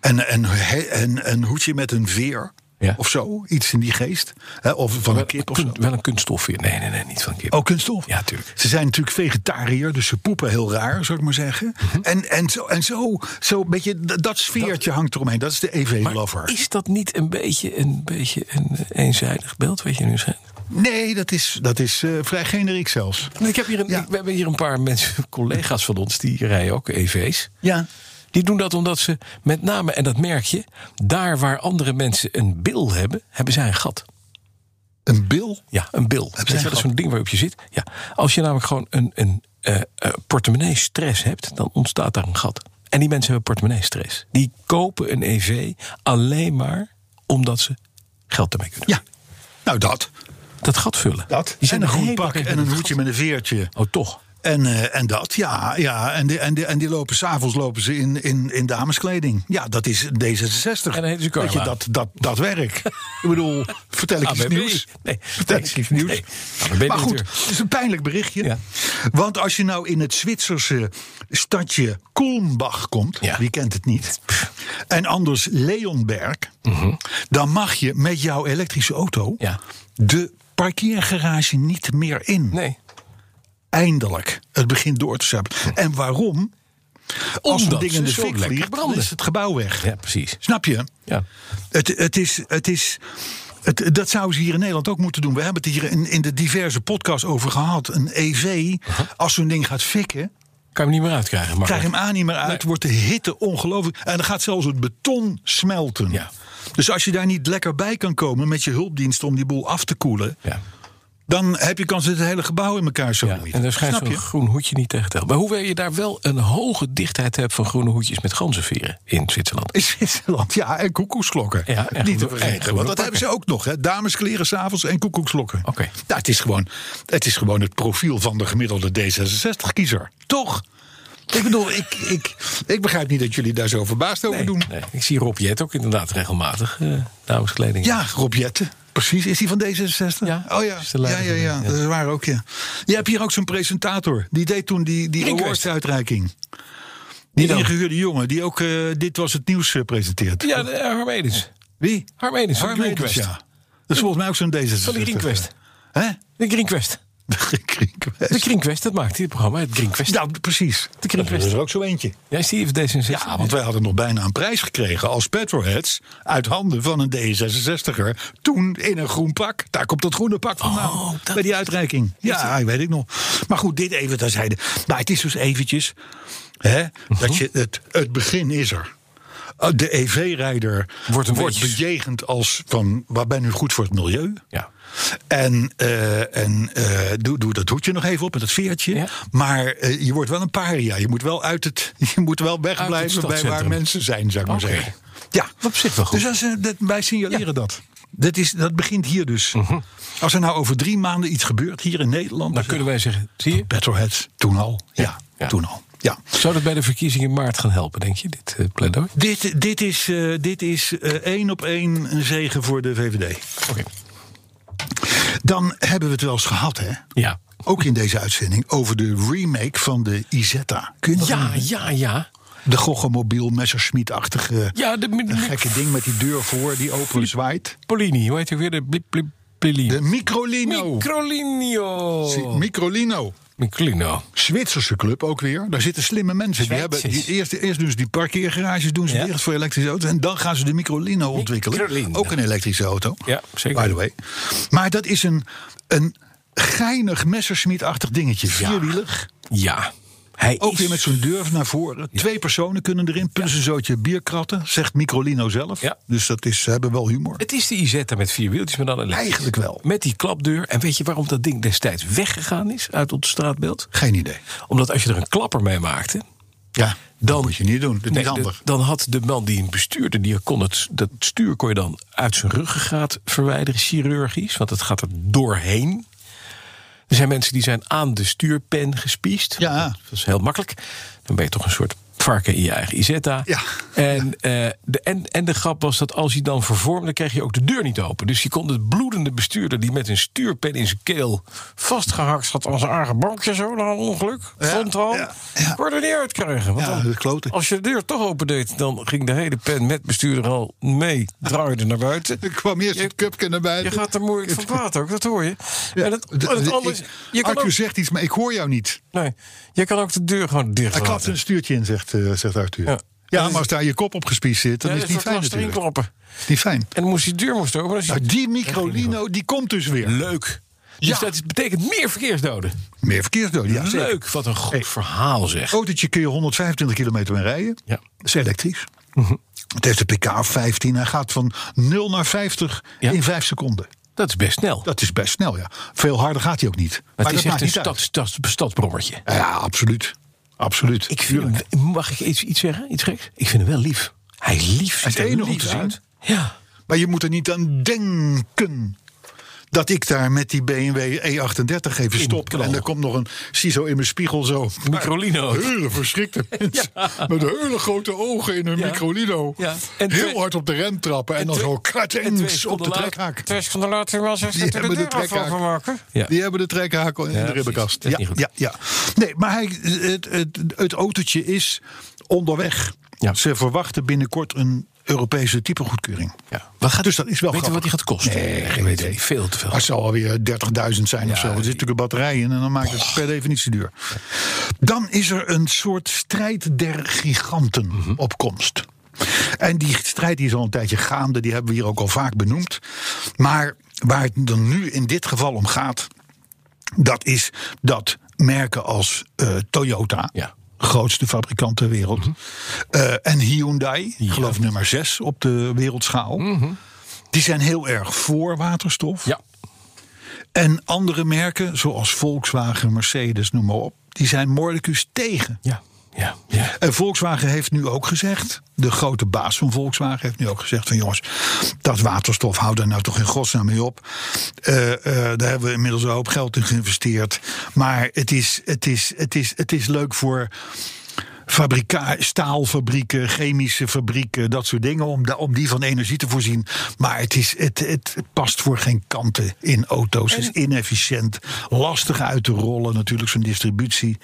C: En een en, en, een hoedje met een veer.
B: Ja.
C: Of zo, iets in die geest. Hè, of van een kip of zo.
B: Kun- wel een kunststofveer. Nee, nee, nee, niet van een kip.
C: Oh, kunststof?
B: Ja, tuurlijk.
C: Ze zijn natuurlijk vegetariër, dus ze poepen heel raar, zou ik maar zeggen.
B: Mhm.
C: En, en, zo, en zo, zo een beetje, d- dat sfeertje hangt eromheen. Dat is de E
B: Maar
C: EV-lover.
B: is dat niet een beetje een, beetje een eh, eenzijdig beeld wat je nu zegt?
C: Nee, dat is, dat is eh, vrij generiek zelfs.
B: Ik heb hier een,
C: Ja.
B: ik- we hebben hier een paar mensen, collega's van ons, die rijden ook EV's.
C: Ja.
B: Die doen dat omdat ze met name, en dat merk je, daar waar andere mensen een bil hebben, hebben zij een gat.
C: Een bil?
B: Ja, een bil.
C: zij
B: Weet je,
C: een
B: dat is
C: gat?
B: zo'n ding waarop je zit. Ja, als je namelijk gewoon een, een eh, eh, portemonnee-stress hebt, dan ontstaat daar een gat. En die mensen hebben portemonnee-stress. Die kopen een EV alleen maar omdat ze geld ermee kunnen.
C: Ja. Nou, dat.
B: Dat gat vullen.
C: dat.
B: Die
C: En
B: zijn
C: een
B: de
C: groen
B: hele
C: pak
B: dag
C: en een
B: in het
C: hoedje
B: gat.
C: met een veertje.
B: Oh, toch?
C: En, eh, en dat, ja. ja. En, die, en, die, en die lopen s'avonds lopen ze in, in, in dameskleding. Ja, dat is D66.
B: En dan heet ze
C: Weet je,
B: Carla.
C: dat, dat, dat werk. ik bedoel, vertel ik iets
B: ABB.
C: nieuws.
B: Nee.
C: Vertel ik iets
B: Nee.
C: nieuws.
B: ABB
C: maar goed,
B: directeur.
C: het is een pijnlijk berichtje.
B: Ja.
C: Want als je nou in het Zwitserse stadje Kulmbach komt,
B: Ja.
C: wie kent het niet, en anders Leonberg, dan mag je met jouw elektrische auto
B: Mhm. Ja.
C: de parkeergarage niet meer in.
B: Nee.
C: Eindelijk. Het begint door te zappen. En waarom? Als een
B: Hm. Omdat
C: ding
B: ze
C: in de
B: zo
C: fik
B: lekker
C: vliegt, dan
B: branden.
C: is het gebouw weg.
B: Ja, precies.
C: Snap je?
B: Ja.
C: Het, het is. Het is het, dat zouden ze hier in Nederland ook moeten doen. We hebben het hier in, in de diverse podcasts over gehad. Een EV,
B: Uh-huh.
C: als zo'n ding gaat fikken,
B: Kan je hem niet meer uitkrijgen. Maar
C: krijg je hem aan niet meer uit, wordt de hitte ongelooflijk. En dan gaat zelfs het beton smelten.
B: Ja.
C: Dus als je daar niet lekker bij kan komen met je hulpdienst om die boel af te koelen,
B: Ja.
C: dan heb je kans dat het hele gebouw in elkaar zo
B: Ja, en daar schijnt
C: Snap
B: zo'n
C: je?
B: groen hoedje niet tegen te helpen. Maar hoewel je daar wel een hoge dichtheid hebt van groene hoedjes met ganzenveren in Zwitserland.
C: In Zwitserland, ja, en koekoeksklokken.
B: Ja, en
C: Niet
B: groene-
C: te
B: en
C: vergeten,
B: groene
C: want dat
B: pakken.
C: hebben ze ook nog. Hè. Dameskleren s'avonds en koekoeksklokken.
B: Oké.
C: Nou, het, is gewoon, het is gewoon het profiel van de gemiddelde D66-kiezer. Toch? Ik bedoel, ik, ik, ik begrijp niet dat jullie daar zo verbaasd over doen.
B: Nee, ik zie Rob Jet ook inderdaad regelmatig eh, dameskleding.
C: Ja, Rob Jetten. Precies, is hij van D66?
B: Ja,
C: oh ja.
B: is de
C: Ja, ja,
B: leider
C: ja,
B: van de-
C: dat is waar ook, ja. Je hebt hier ook zo'n presentator. Die deed toen die, die
B: Linkwist.
C: awards-uitreiking.
B: Wie
C: Die
B: dan?
C: ingehuurde jongen, die ook eh, Dit Was Het Nieuws eh, presenteert.
B: Ja, de- eh, Harm Edens.
C: Wie?
B: Harm Edens van
C: Harm
B: Greenquest.
C: Edens, ja. Dat eh, is volgens mij ook zo'n D66.
B: Van die Greenquest.
C: Hè?
B: De Greenquest.
C: De Greenquest.
B: De Greenquest, dat maakt dit programma. Het Greenquest.
C: Nou, precies.
B: De Greenquest.
C: ook zo eentje.
B: Jij Steve D66.
C: Ja, want wij hadden nog bijna een prijs gekregen als petrolheads... uit handen van een D66er, toen in een groen pak. Daar komt dat groene pak vandaan,
B: Oh, dat-
C: bij die uitreiking. Ja, weet ik nog. Maar goed, dit even terzijde. Maar het is dus eventjes hè, dat je het, het begin is er. Uh, De EV-rijder
B: Wordt een
C: wordt
B: beetje-
C: bejegend als van... waar ben u goed voor het milieu?
B: Ja.
C: En, eh, en eh, doe, doe dat hoedje nog even op met dat veertje.
B: Ja.
C: Maar eh, je wordt wel een paria. Je moet wel, uit het, je moet wel
B: Uit
C: wegblijven
B: het
C: bij waar
B: stadscentrum.
C: mensen zijn, zou ik maar
B: Oké.
C: zeggen. Ja,
B: Op zich wel goed.
C: Dus als, eh, dat, wij signaleren
B: Ja. Mhm.
C: dat. Dat, is, dat begint hier dus. Als er nou over drie maanden iets gebeurt hier in Nederland.
B: Dan kunnen wij zeggen, zie je,
C: Petrolheads, toen al. Ja,
B: Ja.
C: toen al. Ja.
B: zou dat bij de verkiezingen in maart gaan helpen, denk je, dit eh, pleidooi?
C: Dit, dit is, eh, dit is eh, één op één een zegen voor de VVD.
B: Oké.
C: Dan hebben we het wel eens gehad, hè?
B: Ja.
C: Ook in deze uitzending over de remake van de Isetta. Kun je dat
B: Ja,
C: herinneren?
B: ja, ja.
C: De Goggemobiel Messerschmitt-achtige
B: Ja, de,
C: dat gekke ding met die deur voor die open zwaait.
B: Polini, hoe heet hij weer? De blip, blip, blip.
C: De Microlino.
B: Microlino.
C: Zie- Microlino.
B: Microlino.
C: Zwitserse club ook weer. Daar zitten slimme mensen. Die hebben,
B: Zwitsers.
C: die, eerst, eerst doen ze die parkeergarages doen ze
B: Ja.
C: weer voor elektrische auto's. En dan gaan ze de Microlino ontwikkelen.
B: Microlino.
C: Ook een elektrische auto.
B: Ja, zeker.
C: By the way. Maar dat is een, een geinig Messerschmitt-achtig dingetje. Vierwielig.
B: Ja. Hij
C: Ook
B: is...
C: weer met zo'n deur naar voren. Twee personen kunnen erin, plus een zootje bierkratten, zegt Microlino zelf.
B: Ja.
C: Dus dat is, ze hebben wel humor.
B: Het is de Isetta met vier wieltjes, maar dan elektrisch.
C: Eigenlijk wel.
B: Met die klapdeur. En weet je waarom dat ding destijds weggegaan is uit ons straatbeeld?
C: Geen idee.
B: Omdat als je er een klapper mee maakte...
C: Ja, dan,
B: Dan
C: moet je niet doen. Dat is
B: Nee,
C: niet
B: de-
C: handig.
B: dan had de man die hem bestuurde, die kon het, dat stuur kon je dan uit zijn ruggengraat verwijderen, chirurgisch. Want het gaat er doorheen. Er zijn mensen die zijn aan de stuurpen gespiesd.
C: Ja.
B: Dat is heel makkelijk. Dan ben je toch een soort varken in je eigen Isetta.
C: Ja.
B: En, eh, de, en, en de grap was dat als hij dan vervormde, kreeg je ook de deur niet open. Dus je kon de bloedende bestuurder die met een stuurpen in zijn keel vastgehakt zat aan zijn eigen bankje zo na een ongeluk.
C: Ja,
B: Vond wel.
C: ja, ja.
B: Kon je er niet uitkrijgen. Want
C: Ja,
B: dan-
C: dat is kloten.
B: als je de deur toch open deed, dan ging de hele pen met bestuurder al mee, draaide naar buiten.
C: Ik kwam eerst
B: Je-
C: het cupje naar buiten.
B: Je gaat er moeilijk van kwaad ook, dat hoor je.
C: Ja,
B: en het,
C: de-
B: en het
C: de-
B: andere is,
C: ik-
B: je, kan
C: Arthur
B: ook,
C: zegt iets, maar ik hoor jou niet.
B: nee, je kan ook de deur gewoon dicht
C: Hij klapt
B: laten.
C: een stuurtje in, zegt, eh, zegt Arthur.
B: Ja.
C: Ja. maar als daar je kop op gespiesd zit, dan
B: Ja,
C: is het niet
B: dat
C: fijn
B: lastig
C: natuurlijk.
B: inklappen.
C: Is niet fijn.
B: En dan moest die deur moest open. dan is
C: Nou,
B: die-
C: die microlino, die komt dus weer.
B: Leuk. Dus
C: Ja.
B: dat is- betekent meer verkeersdoden.
C: Meer verkeersdoden, ja. zeker.
B: Leuk, wat een goed
C: Hey. Oh.
B: verhaal zeg.
C: Autootje kun je 125 kilometer mee rijden.
B: Ja. Mhm.
C: Dat is elektrisch. Het heeft een pk 15. Hij gaat van 0 naar 50
B: Ja.
C: in 5 seconden.
B: Dat is best snel.
C: Dat is best snel, ja. Veel harder gaat hij ook niet.
B: het is
C: Maar dat
B: echt
C: maakt
B: een
C: niet uit.
B: stad, stad, stadsbrommertje.
C: Ja, absoluut. Absoluut.
B: Ik vind, hem- mag ik iets, iets zeggen? Iets geks? Ik vind hem wel lief. Hij is lief.
C: Hij is
B: ziet er
C: enig om
B: lief
C: te zien.
B: uit. Ja.
C: Maar je moet er niet aan denken dat ik daar met die BMW E38 even stop.
B: knal.
C: En er komt nog een CISO in mijn spiegel zo.
B: Microlino.
C: Hele verschrikte mens. Met hele grote ogen in hun
B: Ja.
C: microlino.
B: Ja. En twee-
C: Heel hard op de rem trappen. En, dan
B: twee-
C: zo
B: en twee
C: kratjengs op
B: seconden
C: de
B: later-
C: trekhaak.
B: Twee seconden later was hij
C: Die hebben de trekhaak.
B: Ja.
C: Die hebben de trekhaak al in
B: Ja,
C: de
B: precies.
C: ribbenkast.
B: Dat is
C: Ja,
B: niet goed.
C: ja, ja. Nee, maar hij, het, het, het autootje is onderweg.
B: Ja.
C: Ze verwachten binnenkort een Europese typegoedkeuring.
B: Ja. Wat gaat,
C: Dus dat is wel
B: Weet je wat die
C: grappig.
B: gaat kosten?
C: Nee, geen
B: Weet je,
C: idee.
B: Veel te veel.
C: Maar het zal alweer 30.000 zijn of
B: Ja,
C: zo. Er zit
B: die-
C: natuurlijk een batterij in en dan maakt het per definitie duur. Dan is er een soort strijd der giganten
B: Mhm.
C: op komst. En die strijd die is al een tijdje gaande. Die hebben we hier ook al vaak benoemd. Maar waar het dan nu in dit geval om gaat... dat is dat merken als eh, Toyota...
B: Ja. Mhm.
C: Grootste fabrikant ter wereld. eh, en Hyundai, geloof nummer 6 op de wereldschaal.
B: Mhm.
C: Die zijn heel erg voor waterstof.
B: Ja.
C: En andere merken, zoals Volkswagen, Mercedes, noem maar op, die zijn Mordicus tegen.
B: Ja. Ja. ja.
C: En Volkswagen heeft nu ook gezegd, de grote baas van Volkswagen heeft nu ook gezegd van jongens, dat waterstof, hou daar nou toch in godsnaam mee op. Eh, eh, daar hebben we inmiddels een hoop geld in geïnvesteerd. Maar het is, het is, het is, het is leuk voor fabrika- staalfabrieken, chemische fabrieken, dat soort dingen, om, da- om die van energie te voorzien. Maar het, is, het, het past voor geen kanten in auto's. Het is inefficiënt, lastig uit te rollen natuurlijk, zo'n distributie.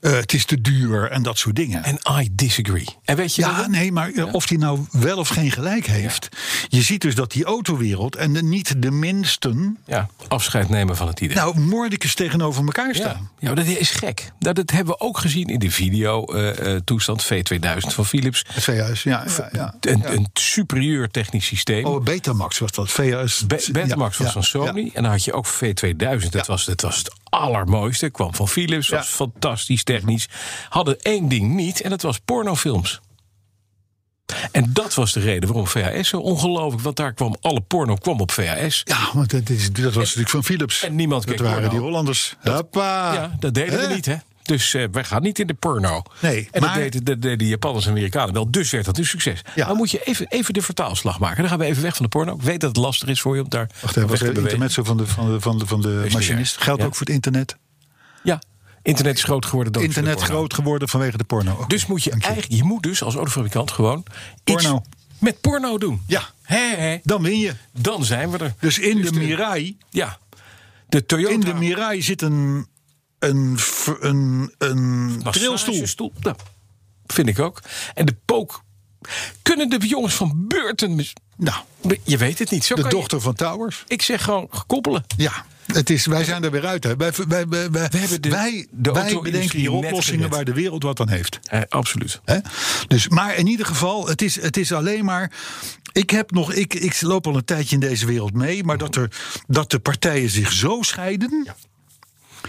C: Eh, het is te duur en dat soort dingen.
B: En I disagree. En weet je
C: Ja,
B: waarom?
C: nee, maar eh, of die nou wel of geen gelijk heeft. Je ziet dus dat die autowereld en de, niet de minsten.
B: Ja, afscheid nemen van het idee.
C: nou, moordicus tegenover elkaar
B: ja.
C: staan.
B: ja, maar dat is gek. Nou, dat hebben we ook gezien in de eh, video-toestand V2000 van Philips.
C: Het VHS, ja. ja, ja,
B: Een,
C: ja.
B: een superieur technisch systeem.
C: Oh, Betamax was dat. VHS.
B: Be- Betamax
C: Ja,
B: was
C: ja,
B: van Sony.
C: ja.
B: En dan had je ook V2000. Dat, was, dat was het allermooiste. Kwam van Philips. Was
C: Ja.
B: fantastisch technisch. Hadden één ding niet. En dat was pornofilms. En dat was de reden waarom VHS zo ongelooflijk. Want daar kwam alle porno kwam op VHS.
C: Ja, want dat, is, dat was natuurlijk van Philips.
B: en niemand
C: Dat
B: keek
C: waren
B: porno.
C: die Hollanders. Hoppa.
B: ja, dat deden we
C: Ah. Hè?
B: niet, hè? Dus eh, wij gaan niet in de porno.
C: Nee,
B: en
C: maar-
B: dat deden, dat deden de Japanners en Amerikanen wel. Dus werd dat een succes.
C: Ja.
B: Dan moet je even, even de vertaalslag maken. Dan gaan we even weg van de porno. Ik weet dat het lastig is voor je om daar
C: Wacht even,
B: weg
C: was
B: te
C: er
B: bewegen.
C: intermezzo van de, van de, van de, van de
B: niet
C: machinist?
B: erg.
C: Geldt
B: Ja.
C: ook voor het internet?
B: Ja, internet is groot geworden. door
C: internet
B: porno.
C: groot geworden vanwege de porno. Oké,
B: Dus moet je,
C: dank
B: eigenlijk, je moet dus als autofabrikant gewoon
C: Porno.
B: iets met porno doen.
C: Ja.
B: Hè, hè.
C: Dan win je.
B: Dan zijn we er.
C: Dus in de Mirai
B: Ja. De Toyota.
C: In de Mirai zit een, een, v- een, een trilstoel.
B: Massagestoel. Nou, vind ik ook. En de pook. Kunnen de jongens van Burton. mis-
C: Nou,
B: Je weet het niet. Zo
C: de
B: kan je-
C: dochter van Towers.
B: ik zeg gewoon koppelen.
C: Ja, het is, wij zijn er weer uit. Hè. Wij, wij, wij, wij,
B: hebben de-
C: wij,
B: de
C: wij
B: auto-industrie
C: bedenken hier
B: net
C: oplossingen
B: gered.
C: waar de wereld wat aan heeft.
B: Eh, absoluut.
C: Hè? Dus, maar in ieder geval, het is, het is alleen maar. Ik, heb nog, ik, ik loop al een tijdje in deze wereld mee, maar dat, er, dat de partijen zich zo scheiden,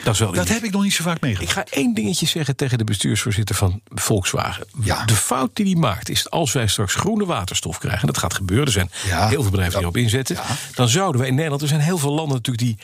B: Dat is wel
C: dat
B: uniek.
C: heb ik nog niet zo vaak
B: Ik
C: meegemaakt.
B: ga één dingetje zeggen tegen de bestuursvoorzitter van Volkswagen.
C: Ja.
B: De fout die die maakt is als wij straks groene waterstof krijgen, en dat gaat gebeuren, er zijn
C: Ja.
B: heel veel bedrijven die erop inzetten, dan zouden wij in Nederland, er zijn heel veel landen natuurlijk die,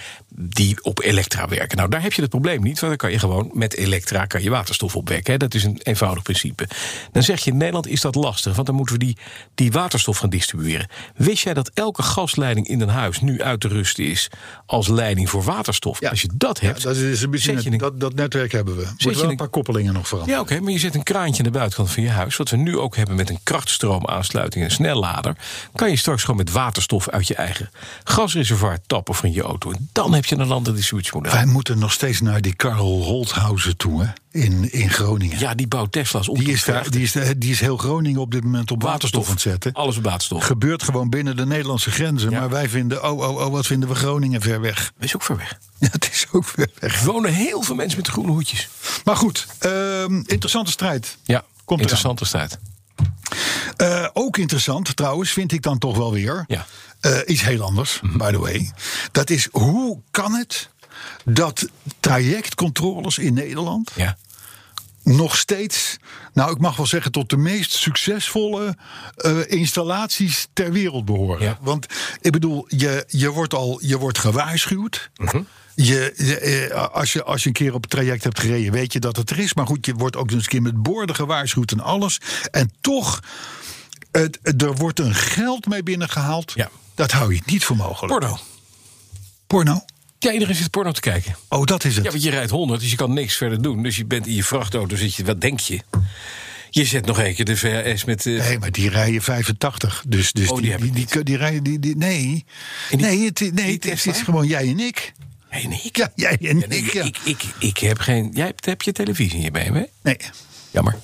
B: die op elektra werken. Nou, daar heb je het probleem niet, want dan kan je gewoon met elektra kan je waterstof opwekken. Hè? Dat is een eenvoudig principe. Dan zeg je in Nederland is dat lastig, want dan moeten we die, die waterstof gaan distribueren. Wist jij dat elke gasleiding in een huis nu uit te rusten is als leiding voor waterstof?
C: Ja.
B: Als je dat hebt,
C: dat is is een beetje
B: Zet je
C: net-
B: een-
C: dat, dat netwerk hebben we. Moeten
B: je
C: we wel
B: een-
C: een paar koppelingen nog veranderen?
B: Ja, oké, maar je zet een kraantje aan de buitenkant van je huis. Wat we nu ook hebben met een krachtstroomaansluiting en een snellader. Kan je straks gewoon met waterstof uit je eigen gasreservoir tappen van je auto. En dan heb je een ander distributiemodel.
C: Wij moeten nog steeds naar die Karl Holthausen toe, hè? In, in Groningen.
B: Ja, die bouwt Tesla's op.
C: die,
B: tot
C: is daar,
B: kracht.
C: die, is, daar- die is heel Groningen op dit moment op waterstof aan het zetten.
B: Alles op waterstof.
C: Gebeurt gewoon binnen de Nederlandse grenzen. Maar wij vinden, oh, oh, oh, wat vinden we Groningen ver weg.
B: is ook ver weg.
C: Ja, het is ook ver weg.
B: Er wonen heel veel mensen met groene hoedjes.
C: Maar goed, ehm, interessante strijd.
B: Ja,
C: Komt
B: interessant als tijd.
C: Eh, ook interessant trouwens, vind ik dan toch wel weer.
B: Ja. Mhm.
C: Eh, iets heel anders, by the way. Dat is, hoe kan het dat trajectcontroles in Nederland...
B: Ja.
C: nog steeds, nou ik mag wel zeggen, tot de meest succesvolle eh, installaties ter wereld behoren.
B: Ja.
C: Want ik bedoel, je, je wordt al je wordt gewaarschuwd.
B: Mhm.
C: Je, je, eh, als, je, als je een keer op het traject hebt gereden, weet je dat het er is. Maar goed, je wordt ook nog eens een keer met borden gewaarschuwd en alles. En toch, het, er wordt een geld mee binnengehaald.
B: Ja.
C: Dat hou je niet voor mogelijk.
B: Porno.
C: Porno?
B: Ja, iedereen zit porno te kijken.
C: Oh, dat is het.
B: Ja, want je rijdt 100, dus je kan niks verder doen. Dus je bent in je vrachtauto, zit je, wat denk je? Je zet nog een keer de VRS met... eh,
C: Nee, maar die rijden 85. Dus, dus
B: Oh, die
C: die,
B: heb
C: die,
B: ik
C: die, die, rijden. Die, die, nee.
B: En die-
C: nee, het, nee
B: die
C: het, is-
B: Tesla?
C: het is gewoon jij en ik.
B: Nee, nee, ik,
C: Ja, jij en
B: Ja, nee,
C: ik. Ja.
B: ik, ik, ik heb geen... Jij hebt, heb je televisie in je BMW?
C: Nee.
B: Jammer.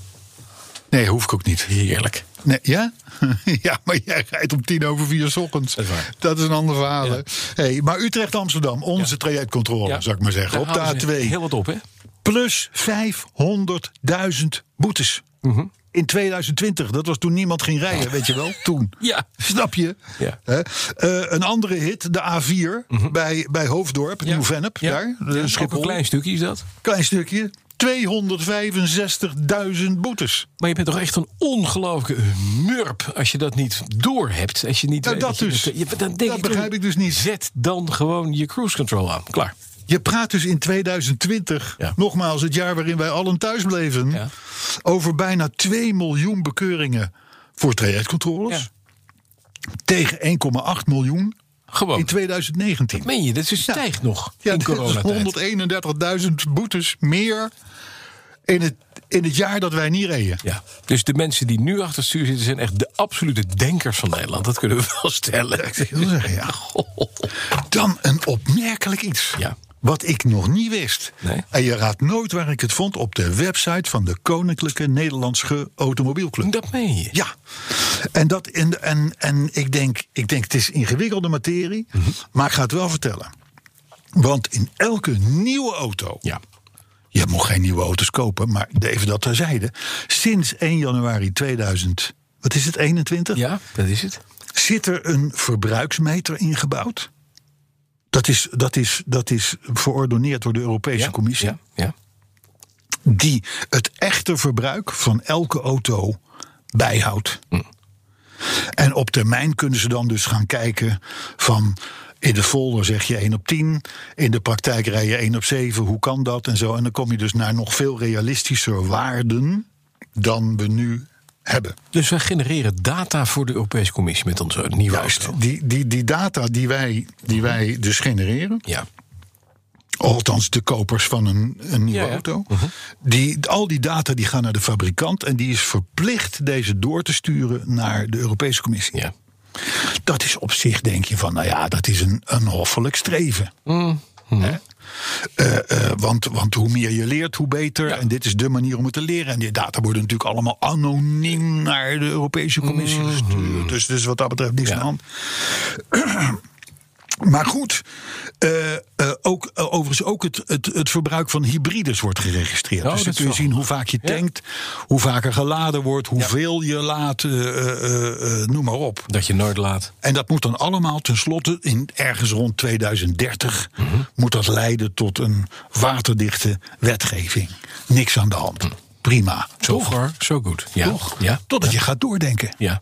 C: nee, hoef ik ook niet.
B: Heerlijk.
C: Nee, ja? ja, maar jij rijdt om tien over vier 's ochtends.
B: Dat is waar.
C: een ander verhaal. hè. Hey, maar Utrecht-Amsterdam, onze trajectcontrole, Oh, zou ik maar zeggen.
B: Daar
C: Op
B: halen ze
C: de A2.
B: Heel wat op, hè?
C: Plus 500.000 boetes.
B: Mhm.
C: In 2020, dat was toen niemand ging rijden, weet je wel? Toen.
B: Ja.
C: Snap je?
B: Ja. Mhm.
C: Hè? Eh, een andere hit, de A4, bij, bij Hoofddorp, Nieuw-Vennep,
B: Ja.
C: daar,
B: Ja,
C: eh,
B: ook
C: Schiphol.
B: Een klein stukje is dat.
C: Klein stukje, 265.000 boetes.
B: Maar je bent toch echt een ongelooflijke murp als je dat niet doorhebt. Als je niet
C: Nou,
B: weet
C: dat
B: je
C: dus.
B: je- dan denk
C: Dat
B: toch,
C: begrijp ik dus niet.
B: Zet dan gewoon je cruise control aan. Klaar.
C: Je praat dus in 2020,
B: Ja.
C: nogmaals het jaar waarin wij allen thuis bleven,
B: Ja.
C: over bijna 2 miljoen bekeuringen voor trajectcontroles. Tegen 1,8 miljoen
B: Gewoon.
C: in 2019.
B: Meen je, dat is stijgt nog
C: Ja,
B: in
C: dat is
B: coronatijd.
C: 131.000 boetes meer in het, in het jaar dat wij niet reden.
B: Ja. Dus de mensen die nu achter het stuur zitten... zijn echt de absolute denkers van Nederland. Dat kunnen we wel stellen.
C: Ik wil zeggen, ja. Dan een opmerkelijk iets.
B: Ja.
C: Wat ik nog niet wist.
B: Nee.
C: En je raadt nooit waar ik het vond op de website van de Koninklijke Nederlandse Automobielclub.
B: Dat meen je.
C: Ja, en, dat, en, en, en ik, denk, ik denk het is ingewikkelde materie,
B: Mhm.
C: maar ik ga het wel vertellen. Want in elke nieuwe auto
B: Ja.
C: Je mocht geen nieuwe auto's kopen, maar even dat terzijde. Sinds 1 januari 2000, wat is het, 21?
B: ja, dat is het.
C: Zit er een verbruiksmeter ingebouwd? Dat is, dat is, dat is verordoneerd door de Europese
B: ja.
C: Commissie.
B: Ja. ja.
C: Die het echte verbruik van elke auto bijhoudt. En op termijn kunnen ze dan dus gaan kijken van... In de folder zeg je 1 op 10. In de praktijk rij je 1 op 7. Hoe kan dat? En zo. En dan kom je dus naar nog veel realistischer waarden dan we nu hebben.
B: Dus wij genereren data voor de Europese Commissie met onze nieuwe auto.
C: Juist, die, die, die data die wij, die wij dus genereren,
B: Ja.
C: althans de kopers van een, een nieuwe
B: Ja, ja.
C: auto, die, al die data die gaan naar de fabrikant en die is verplicht deze door te sturen naar de Europese Commissie.
B: ja.
C: Dat is op zich, denk je van, nou ja, dat is een, een hoffelijk streven.
B: Mm.
C: Hè? Eh, eh, want, want hoe meer je leert, hoe beter. En dit is de manier om het te leren. En die data worden natuurlijk allemaal anoniem naar de Europese Commissie gestuurd. Dus, dus wat dat betreft niks
B: Mm. Ja.
C: aan de hand. Maar goed, eh, eh, ook, eh, overigens ook het, het, het verbruik van hybrides wordt geregistreerd.
B: Oh,
C: dus dan
B: dat
C: kun je
B: is wel
C: zien hoe vaak je tankt, hoe vaker geladen wordt, hoeveel je laat, eh, eh, eh, noem maar op.
B: Dat je nooit laat.
C: En dat moet dan allemaal tenslotte, in, ergens rond 2030, moet dat leiden tot een waterdichte wetgeving. Niks aan de hand. Prima.
B: So
C: Toch?
B: far, so good. Ja.
C: Toch?
B: Ja.
C: Totdat je gaat doordenken.
B: Ja.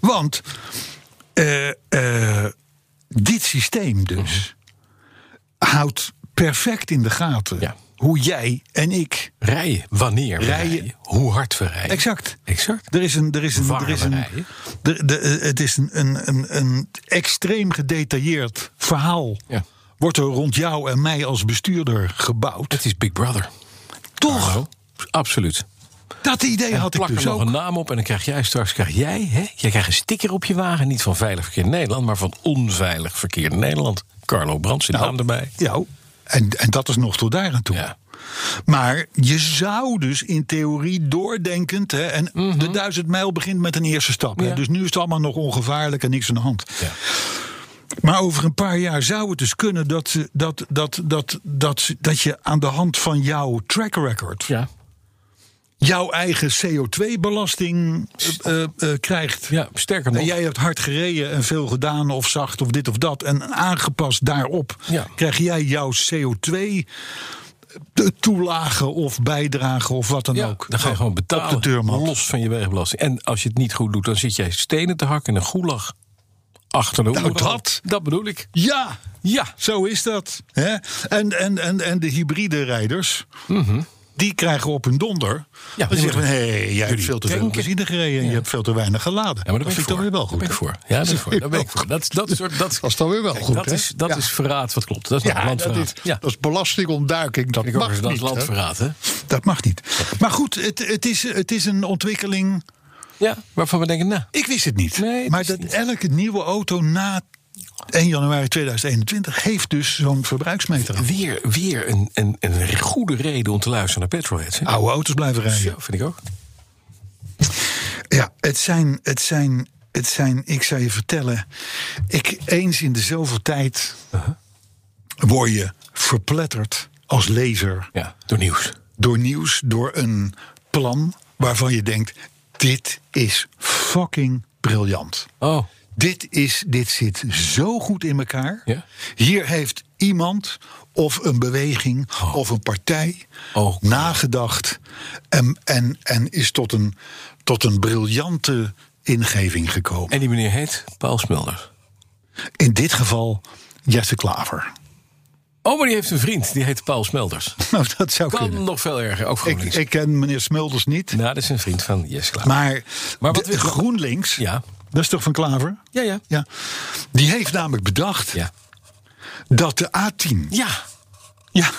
C: Want eh, eh, dit systeem dus houdt perfect in de gaten
B: Mhm. Ja.
C: hoe jij en ik.
B: Rijden. Wanneer we rijden.
C: Rijden.
B: Hoe hard we rijden.
C: Exact.
B: Exact.
C: Er is een. Er is een, er is een
B: Waarderij.
C: er- de- eh, het is een, een, een, een extreem gedetailleerd verhaal.
B: Ja.
C: wordt er rond jou en mij als bestuurder gebouwd.
B: Het is Big Brother.
C: Toch?
B: Hallo? Absoluut.
C: Dat idee
B: En
C: had ik
B: plak
C: dus
B: er nog
C: ook.
B: een naam op en dan krijg jij straks krijg jij, hè? jij krijgt een sticker op je wagen. Niet van veilig verkeer in Nederland, maar van onveilig verkeer in Nederland. Carlo Brandt
C: Nou.
B: zit naam erbij.
C: Ja, en, en dat is nog tot daar aan toe.
B: Ja.
C: Maar je zou dus in theorie doordenkend. Hè, en de duizend mijl begint met een eerste stap. Hè,
B: Mhm. Ja.
C: dus nu is het allemaal nog ongevaarlijk en niks aan de hand.
B: Ja.
C: Maar over een paar jaar zou het dus kunnen dat, ze- dat, dat, dat, dat, ze- dat je aan de hand van jouw track record.
B: Ja.
C: jouw eigen CO2-belasting eh, eh, eh, krijgt.
B: ja, sterker nog.
C: En jij hebt hard gereden en veel gedaan, of zacht, of dit of dat. En aangepast daarop
B: Ja.
C: krijg jij jouw CO2-toelage eh, of bijdrage of wat dan
B: Ja,
C: ook. Eh,
B: dan ga je gewoon betalen.
C: Op de deurmat.
B: Los van je wegenbelasting. En als je het niet goed doet, dan zit jij stenen te hakken en een goelag achter de
C: Nou,
B: oeral.
C: dat.
B: dat bedoel ik.
C: Ja,
B: Ja.
C: zo is dat. Hè? En, en, en, en de hybride rijders.
B: Mhm.
C: Die krijgen op hun donder.
B: die
C: dan zeggen
B: moeten-
C: hé, hey, jij hebt
B: jullie
C: veel te veel
B: denken-
C: benzine gereden... en je hebt veel te weinig geladen.
B: Ja, maar daar ben
C: dat
B: ik
C: vind ik dan
B: voor.
C: weer wel
B: Daar
C: goed.
B: ben ik
C: hè?
B: voor. Ja, daar ben ik voor. Daar ben ik voor. Dat, is- dat, soort, dat,
E: Dat is dan weer wel
B: Kijk,
E: goed,
B: dat
E: hè?
B: Is, dat
E: Ja.
B: is verraad, wat klopt. Dat is nog
E: Ja, dat
B: landverraad.
E: is,
B: ja.
E: dat is belastingontduiking. Dat
B: Kijk,
E: mag
B: overigens, dat is
E: niet, hè?
B: landverraad, hè?
C: Dat mag niet. Maar goed, het, het, is, het is een ontwikkeling.
B: Ja, waarvan we denken, nou,
C: Ik wist het niet.
B: Nee, het
C: maar
B: is
C: dat
B: niet.
C: elke nieuwe auto na 1 januari 2021 heeft dus zo'n verbruiksmeter. aan.
B: weer, weer een, een, een goede reden om te luisteren naar Petrolheads. hè?
C: Oude auto's blijven rijden.
B: Zo, vind ik ook.
C: Ja, het zijn, het zijn, het zijn, ik zou je vertellen. Ik, eens in de zoveel tijd word je verpletterd als lezer
B: Ja, door nieuws.
C: door nieuws, door een plan waarvan je denkt: dit is fucking briljant.
B: Oh,
C: Dit, is, dit zit zo goed in elkaar.
B: Ja.
C: Hier heeft iemand of een beweging of een partij
B: Oh.
C: nagedacht en, en, en is tot een, tot een briljante ingeving gekomen.
B: en die meneer heet Paul Smulders.
C: in dit geval Jesse Klaver.
B: Oh, maar die heeft een vriend, die heet Paul Smulders.
C: Nou, dat zou
B: Kan
C: kunnen.
B: nog veel erger, ook
C: Ik,
B: GroenLinks.
C: ik ken meneer Smulders niet,
B: Nou, dat is een vriend van Yes Klaver.
C: maar,
B: Maar wat
C: de-
B: wil-
C: GroenLinks,
B: Ja.
C: dat is toch van Klaver?
B: Ja, ja.
C: Ja. Die heeft namelijk bedacht
B: Ja.
C: dat de A10,
B: Ja.
C: ja,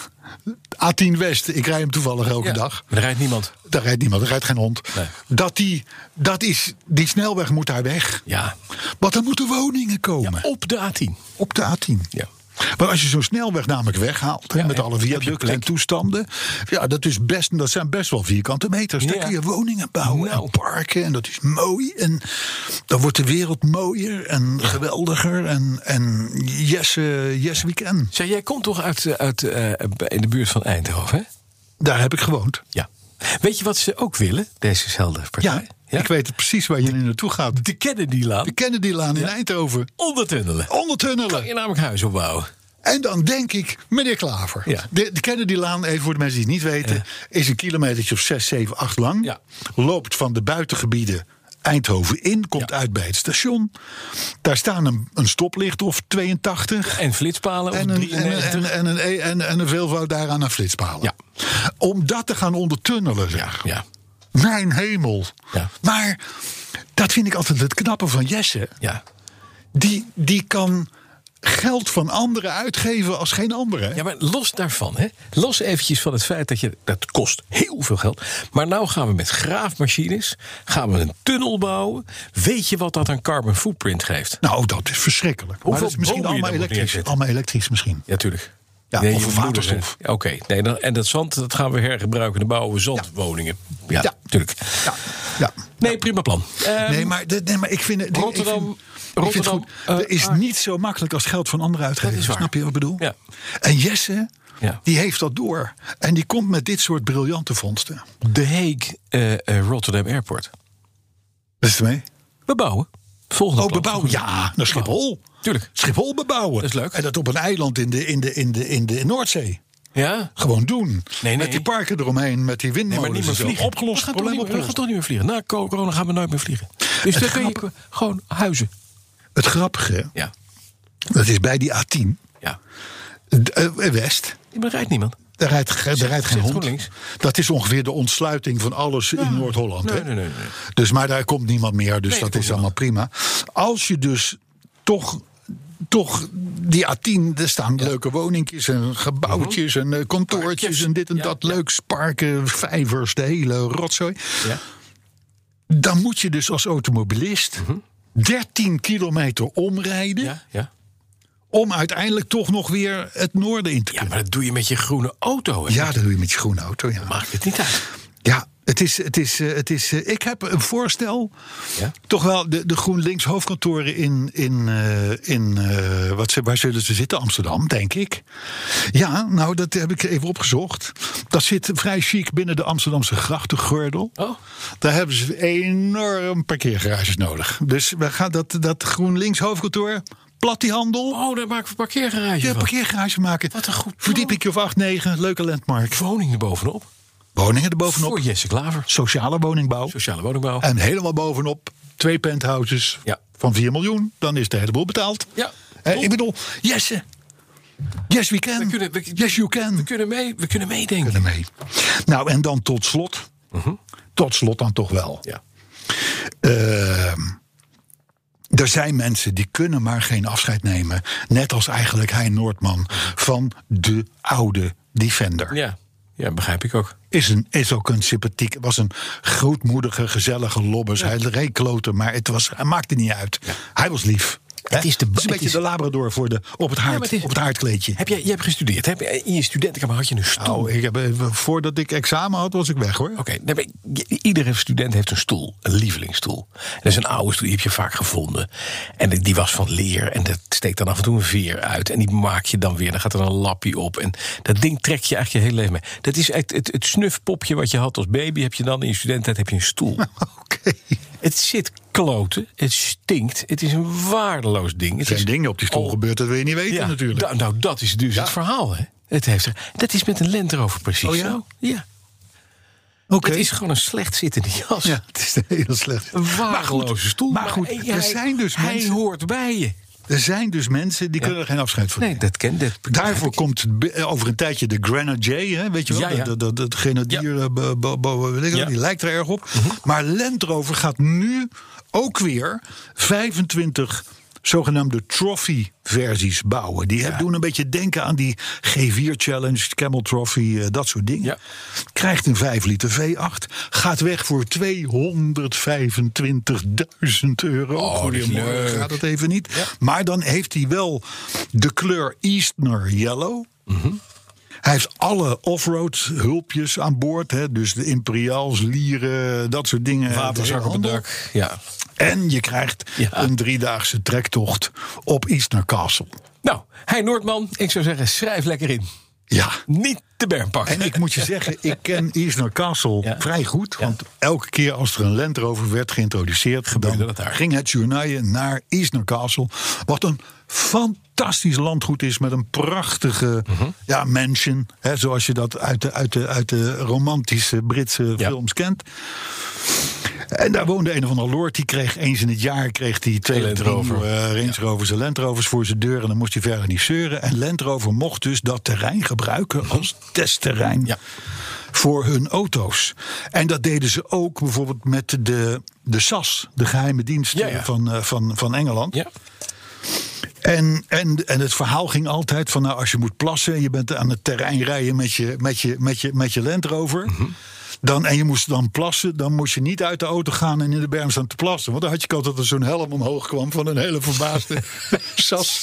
C: A10 West, ik rij hem toevallig elke
B: ja.
C: dag.
B: Maar er rijdt niemand.
C: Daar rijdt niemand, daar rijdt geen hond.
B: Nee.
C: Dat, die, dat is, die snelweg moet daar weg.
B: Ja.
C: Want er moeten woningen komen
B: Op de A10.
C: op de A10.
B: Ja.
C: Maar als je zo'n snelweg namelijk weghaalt, hè,
B: Ja,
C: met
B: en
C: alle
B: heb je
C: viaducten
B: plek.
C: en toestanden. Ja, dat, is best, dat zijn best wel vierkante meters. Daar
B: Ja.
C: kun je woningen bouwen
B: Nou.
C: en parken. En dat is mooi. En dan wordt de wereld mooier en geweldiger. En, en yes, eh, yes weekend.
B: Zeg, jij komt toch uit, eh, uit eh, in de buurt van Eindhoven, hè?
C: Daar heb ik gewoond.
B: Ja. Weet je wat ze ook willen, dezezelfde
C: Ja,
B: partij?
C: ik weet het precies waar jullie naartoe gaat.
B: De Kennedy-laan
C: De Kennedylaan in Eindhoven.
B: ondertunnelen.
C: Ondertunnelen.
B: Kan je namelijk huis opbouwen.
C: En dan denk ik, meneer Klaver.
B: Ja.
C: De, de Kennedylaan, even voor de mensen die het niet weten, is een kilometertje of 6, 7, 8 lang.
B: Ja.
C: Loopt van de buitengebieden Eindhoven in, komt
B: Ja.
C: uit bij het station. Daar staan een, een stoplicht of 82.
B: En flitspalen
C: En
B: of
C: een, en, een-
B: 93.
C: en, en, een, e- en, en een veelvoud daaraan aan flitspalen.
B: Ja.
C: Om dat te gaan ondertunnelen, zeg.
B: ja.
C: Mijn hemel.
B: Ja.
C: Maar dat vind ik altijd het knappe van Jesse.
B: Ja.
C: Die, die kan geld van anderen uitgeven als geen andere. hè?
B: ja, maar los daarvan, hè. Los eventjes van het feit dat je... Dat kost heel veel geld. Maar nou gaan we met graafmachines... gaan we een tunnel bouwen. Weet je wat dat aan carbon footprint geeft?
C: Nou, dat is verschrikkelijk.
B: Hoeveel
C: maar dat is misschien
B: bomen je
C: allemaal
B: dan moet
C: elektrisch.
B: neerzetten?
C: Allemaal elektrisch misschien.
B: Ja, tuurlijk.
C: Ja,
B: Nee,
C: of
B: je
C: een
B: moeder
C: waterstof.
B: zegt, Oké, nee, dan, en dat zand dat gaan we hergebruiken. Dan bouwen we zandwoningen. Ja,
C: Ja.
B: tuurlijk.
C: Ja. ja.
B: Nee, prima plan. Ehm,
C: Nee, maar, de- nee, maar ik vind het. ik
B: Rotterdam-
C: vind- Ik vind, het
B: Rotterdam,
C: goed. Dat
B: eh,
C: is
B: Aard.
C: niet zo makkelijk als geld van anderen uitgeven.
B: Dat is waar.
C: Snap je wat ik bedoel?
B: Ja.
C: En Jesse,
B: Ja.
C: die heeft dat door. En die komt met dit soort briljante vondsten.
B: De Hague eh, eh, Rotterdam Airport.
C: Is het mee?
B: We bouwen. Volgende
C: Oh,
B: plan.
C: bebouwen. Ja, naar Schiphol.
B: Tuurlijk.
C: Schiphol bebouwen.
B: Dat is leuk.
C: En dat op een eiland in de, in de, in de, in de Noordzee.
B: Ja?
C: Gewoon doen.
B: nee.
C: Met die parken eromheen, met die
B: Nee,
C: windmolens.
B: maar niet meer
C: en zo.
B: vliegen.
C: Opgelost,
B: we gaan, toch
C: probleem
B: niet, meer- we gaan
C: opgelost.
B: toch niet meer vliegen. Na corona gaan we nooit meer vliegen. Dus dan kun je gewoon huizen.
C: Het grappige,
B: Ja.
C: dat is bij die A10.
B: Ja.
C: D- eh, West.
B: Maar er rijdt niemand.
C: Daar rijdt, ge- daar rijdt geen
B: zegt
C: hond.
B: GroenLinks.
C: Dat is ongeveer de ontsluiting van alles in Noord-Holland.
B: Nee,
C: hè?
B: nee, nee, nee.
C: Dus, maar daar komt niemand meer, dus
B: Nee,
C: dat
B: daar
C: is
B: komt
C: allemaal prima. Als je dus toch toch die A10, er staan leuke woningjes en gebouwtjes en eh, kantoortjes en dit en
B: Ja,
C: dat.
B: ja.
C: Leuk, sparken, vijvers, de hele rotzooi.
B: Ja.
C: Dan moet je dus als automobilist 13 kilometer omrijden.
B: Mhm. Ja, ja.
C: om uiteindelijk toch nog weer het noorden in te
B: ja,
C: kunnen.
B: maar dat doe je met je groene auto. Hè?
C: Ja, dat doe je met je groene auto. Ja,
B: Maakt het niet uit.
C: ja het is, het is, eh, het is, eh, ik heb een voorstel.
B: Ja.
C: Toch wel de, de GroenLinks hoofdkantoren in, in, eh, in eh, wat, ze- waar zullen ze zitten? Amsterdam, denk ik. Ja, nou, dat heb ik even opgezocht. Dat zit vrij chic binnen de Amsterdamse grachtengordel.
B: Oh.
C: Daar hebben ze enorm parkeergarages nodig. Dus we gaan dat, dat GroenLinks hoofdkantoor, plat die handel.
B: Oh, daar maken we parkeergarage
C: Ja,
B: van.
C: parkeergarage maken.
B: Wat een goed plan.
C: Verdieping of 8, 9, leuke landmark.
B: Woning erbovenop.
C: Woningen erbovenop.
B: Voor Jesse Klaver.
C: Sociale woningbouw.
B: Sociale woningbouw.
C: En helemaal bovenop twee penthouses
B: Ja.
C: van 4 miljoen. Dan is de hele boel betaald.
B: Ja.
C: Eh, ik bedoel, Jesse. Yes, we can.
B: We kunnen- we-
C: yes, you
B: We
C: can.
B: kunnen, mee, we kunnen meedenken.
C: Kunnen mee. Nou, en dan tot slot. Tot slot dan toch wel.
B: Mhm. Ja.
C: Ehm, er zijn mensen die kunnen maar geen afscheid nemen. Net als eigenlijk Hein Noordman. Van de oude Defender.
B: Mhm. Ja. ja, begrijp ik ook.
C: Is, een, is ook een sympathiek. Was een grootmoedige, gezellige lobbers. Hij reed kloten, maar het was, hij maakte niet uit. Hij was lief.
B: Het
C: Hè?
B: is de-
C: een
B: het
C: beetje
B: is-
C: de labrador voor de, op, het haard,
B: maar het is-
C: op het haardkleedje.
B: Heb jij, jij hebt gestudeerd. Heb, jij- in je studentenkamer had je een stoel.
C: Nou, ik heb, eh, voordat ik examen had, was ik weg hoor.
B: Oké, nee, maar i- iedere student heeft een stoel, een lievelingsstoel. En dat is een oude stoel, die heb je vaak gevonden. En die- die was van leer en dat steekt dan af en toe een veer uit. En die maak je dan weer, dan gaat er een lapje op. En dat ding trek je eigenlijk je hele leven mee. Dat is echt het, het snufpopje wat je had als baby, heb je dan in je studententijd heb je een stoel.
C: Oké.
B: het zit kloten, het stinkt, het is een waardeloos ding. Het
C: Er zijn
B: is
C: dingen op die stoel
B: al-
C: gebeurd dat wil je niet weten
B: ja,
C: natuurlijk.
B: da- nou, dat is dus het verhaal, hè. Het heeft, er- dat is met een Land Rover precies
C: Oh ja?
B: zo. Ja.
C: Oké.
B: Het is gewoon een slecht zittende jas.
C: Ja, het is heel slecht.
B: Een waardeloze stoel. eh,
C: maar goed, er
B: hij-
C: zijn dus
B: hij
C: mensen-
B: hoort bij je.
C: Er zijn dus mensen die kunnen er geen afscheid van
B: Nee,
C: nemen.
B: dat kent dat.
C: Daarvoor komt be- eh, over een tijdje de Grenadier, hè, weet je wel?
B: Ja, ja.
C: Dat, dat, dat grenadier, eh, bo- bo- bo- weet ik wel,
B: Ja. Mhm.
C: die lijkt er erg op. Maar Land Rover gaat nu ook weer 25 zogenaamde trophy versies bouwen. Die heb- doen een beetje denken aan die G4 Challenge, Camel Trophy, eh, dat soort dingen.
B: Ja.
C: Krijgt een 5 liter V8, gaat weg voor 225.000 euro.
B: Oh, dat is leuk.
C: gaat het even niet. Maar dan heeft hij wel de kleur Eastner Yellow.
B: Mhm.
C: Hij heeft alle offroad hulpjes aan boord. Hè? Dus de imperiaals, lieren, dat soort dingen.
B: Waterzak op het dak. Ja.
C: En je krijgt
B: Ja.
C: een driedaagse trektocht op Eastner Castle.
B: Nou, hij Noordman, ik zou zeggen, schrijf lekker in.
C: Ja.
B: Niet de berm pakken.
C: En ik moet je zeggen, ik ken Eastner Castle
B: Ja.
C: vrij goed. Want elke keer als er een Land Rover werd geïntroduceerd...
B: Gebeurde
C: dan
B: dat daar.
C: ging het journaal naar Eastner Castle. Wat een fantastisch landgoed is met een prachtige
B: Mhm.
C: ja, mansion. Hè, zoals je dat uit de, uit de, uit de romantische Britse
B: Ja.
C: films kent. En daar woonde een of andere lord. Die kreeg eens in het jaar kreeg die twee
B: Land
C: of drie
B: Rover.
C: nieuwe, eh, Range Rovers en Land Rovers voor zijn deur. En dan moest hij verder niet zeuren. En Land Rover mocht dus dat terrein gebruiken als testterrein
B: Mhm. Ja.
C: voor hun auto's. En dat deden ze ook bijvoorbeeld met de, de SAS, de geheime dienst
B: Ja, ja.
C: Van, eh, van, van Engeland.
B: Ja.
C: En, en, en het verhaal ging altijd van, nou, als je moet plassen, je bent aan het terrein rijden met je, met je, met je, met je Land Rover. Dan, en je moest dan plassen, dan moest je niet uit de auto gaan en in de berm staan te plassen. Want dan had je altijd dat er zo'n helm omhoog kwam van een hele verbaasde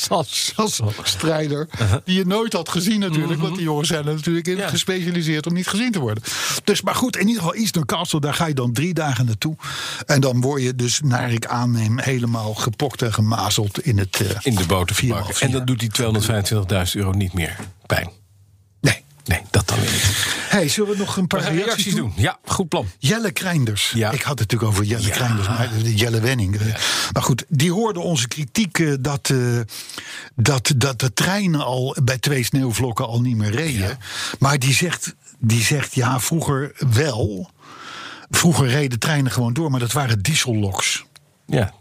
B: Oh.
C: SAS-strijder. Die je nooit had gezien natuurlijk, want die jongens zijn er natuurlijk in
B: Uh-huh. Mm-hmm. Ja.
C: gespecialiseerd om niet gezien te worden. Dus, maar goed, in ieder geval Eastern Castle, daar ga je dan drie dagen naartoe. En dan word je dus, naar ik aanneem, helemaal gepokt en gemazeld in het... eh,
B: In de boter
C: Vier
B: verpakken.
C: maal
B: En
C: vier.
B: dat doet die 225.000 euro niet meer pijn.
C: Nee.
B: Nee, dat dan weer niet.
C: Hey, zullen we nog een paar
B: We gaan
C: reacties,
B: reacties
C: doen?
B: doen. Ja, goed plan.
C: Jelle Kreinders.
B: Ja.
C: Ik had het natuurlijk over Jelle
B: Ja.
C: Kreinders, maar eh, Jelle Wenning. eh. Maar goed, die hoorde onze kritiek eh, dat, eh, dat, dat de treinen al bij twee sneeuwvlokken al niet meer reden. Maar die zegt, die zegt, ja, vroeger wel. Vroeger reden treinen gewoon door, maar dat waren dieselloks.
B: Ja.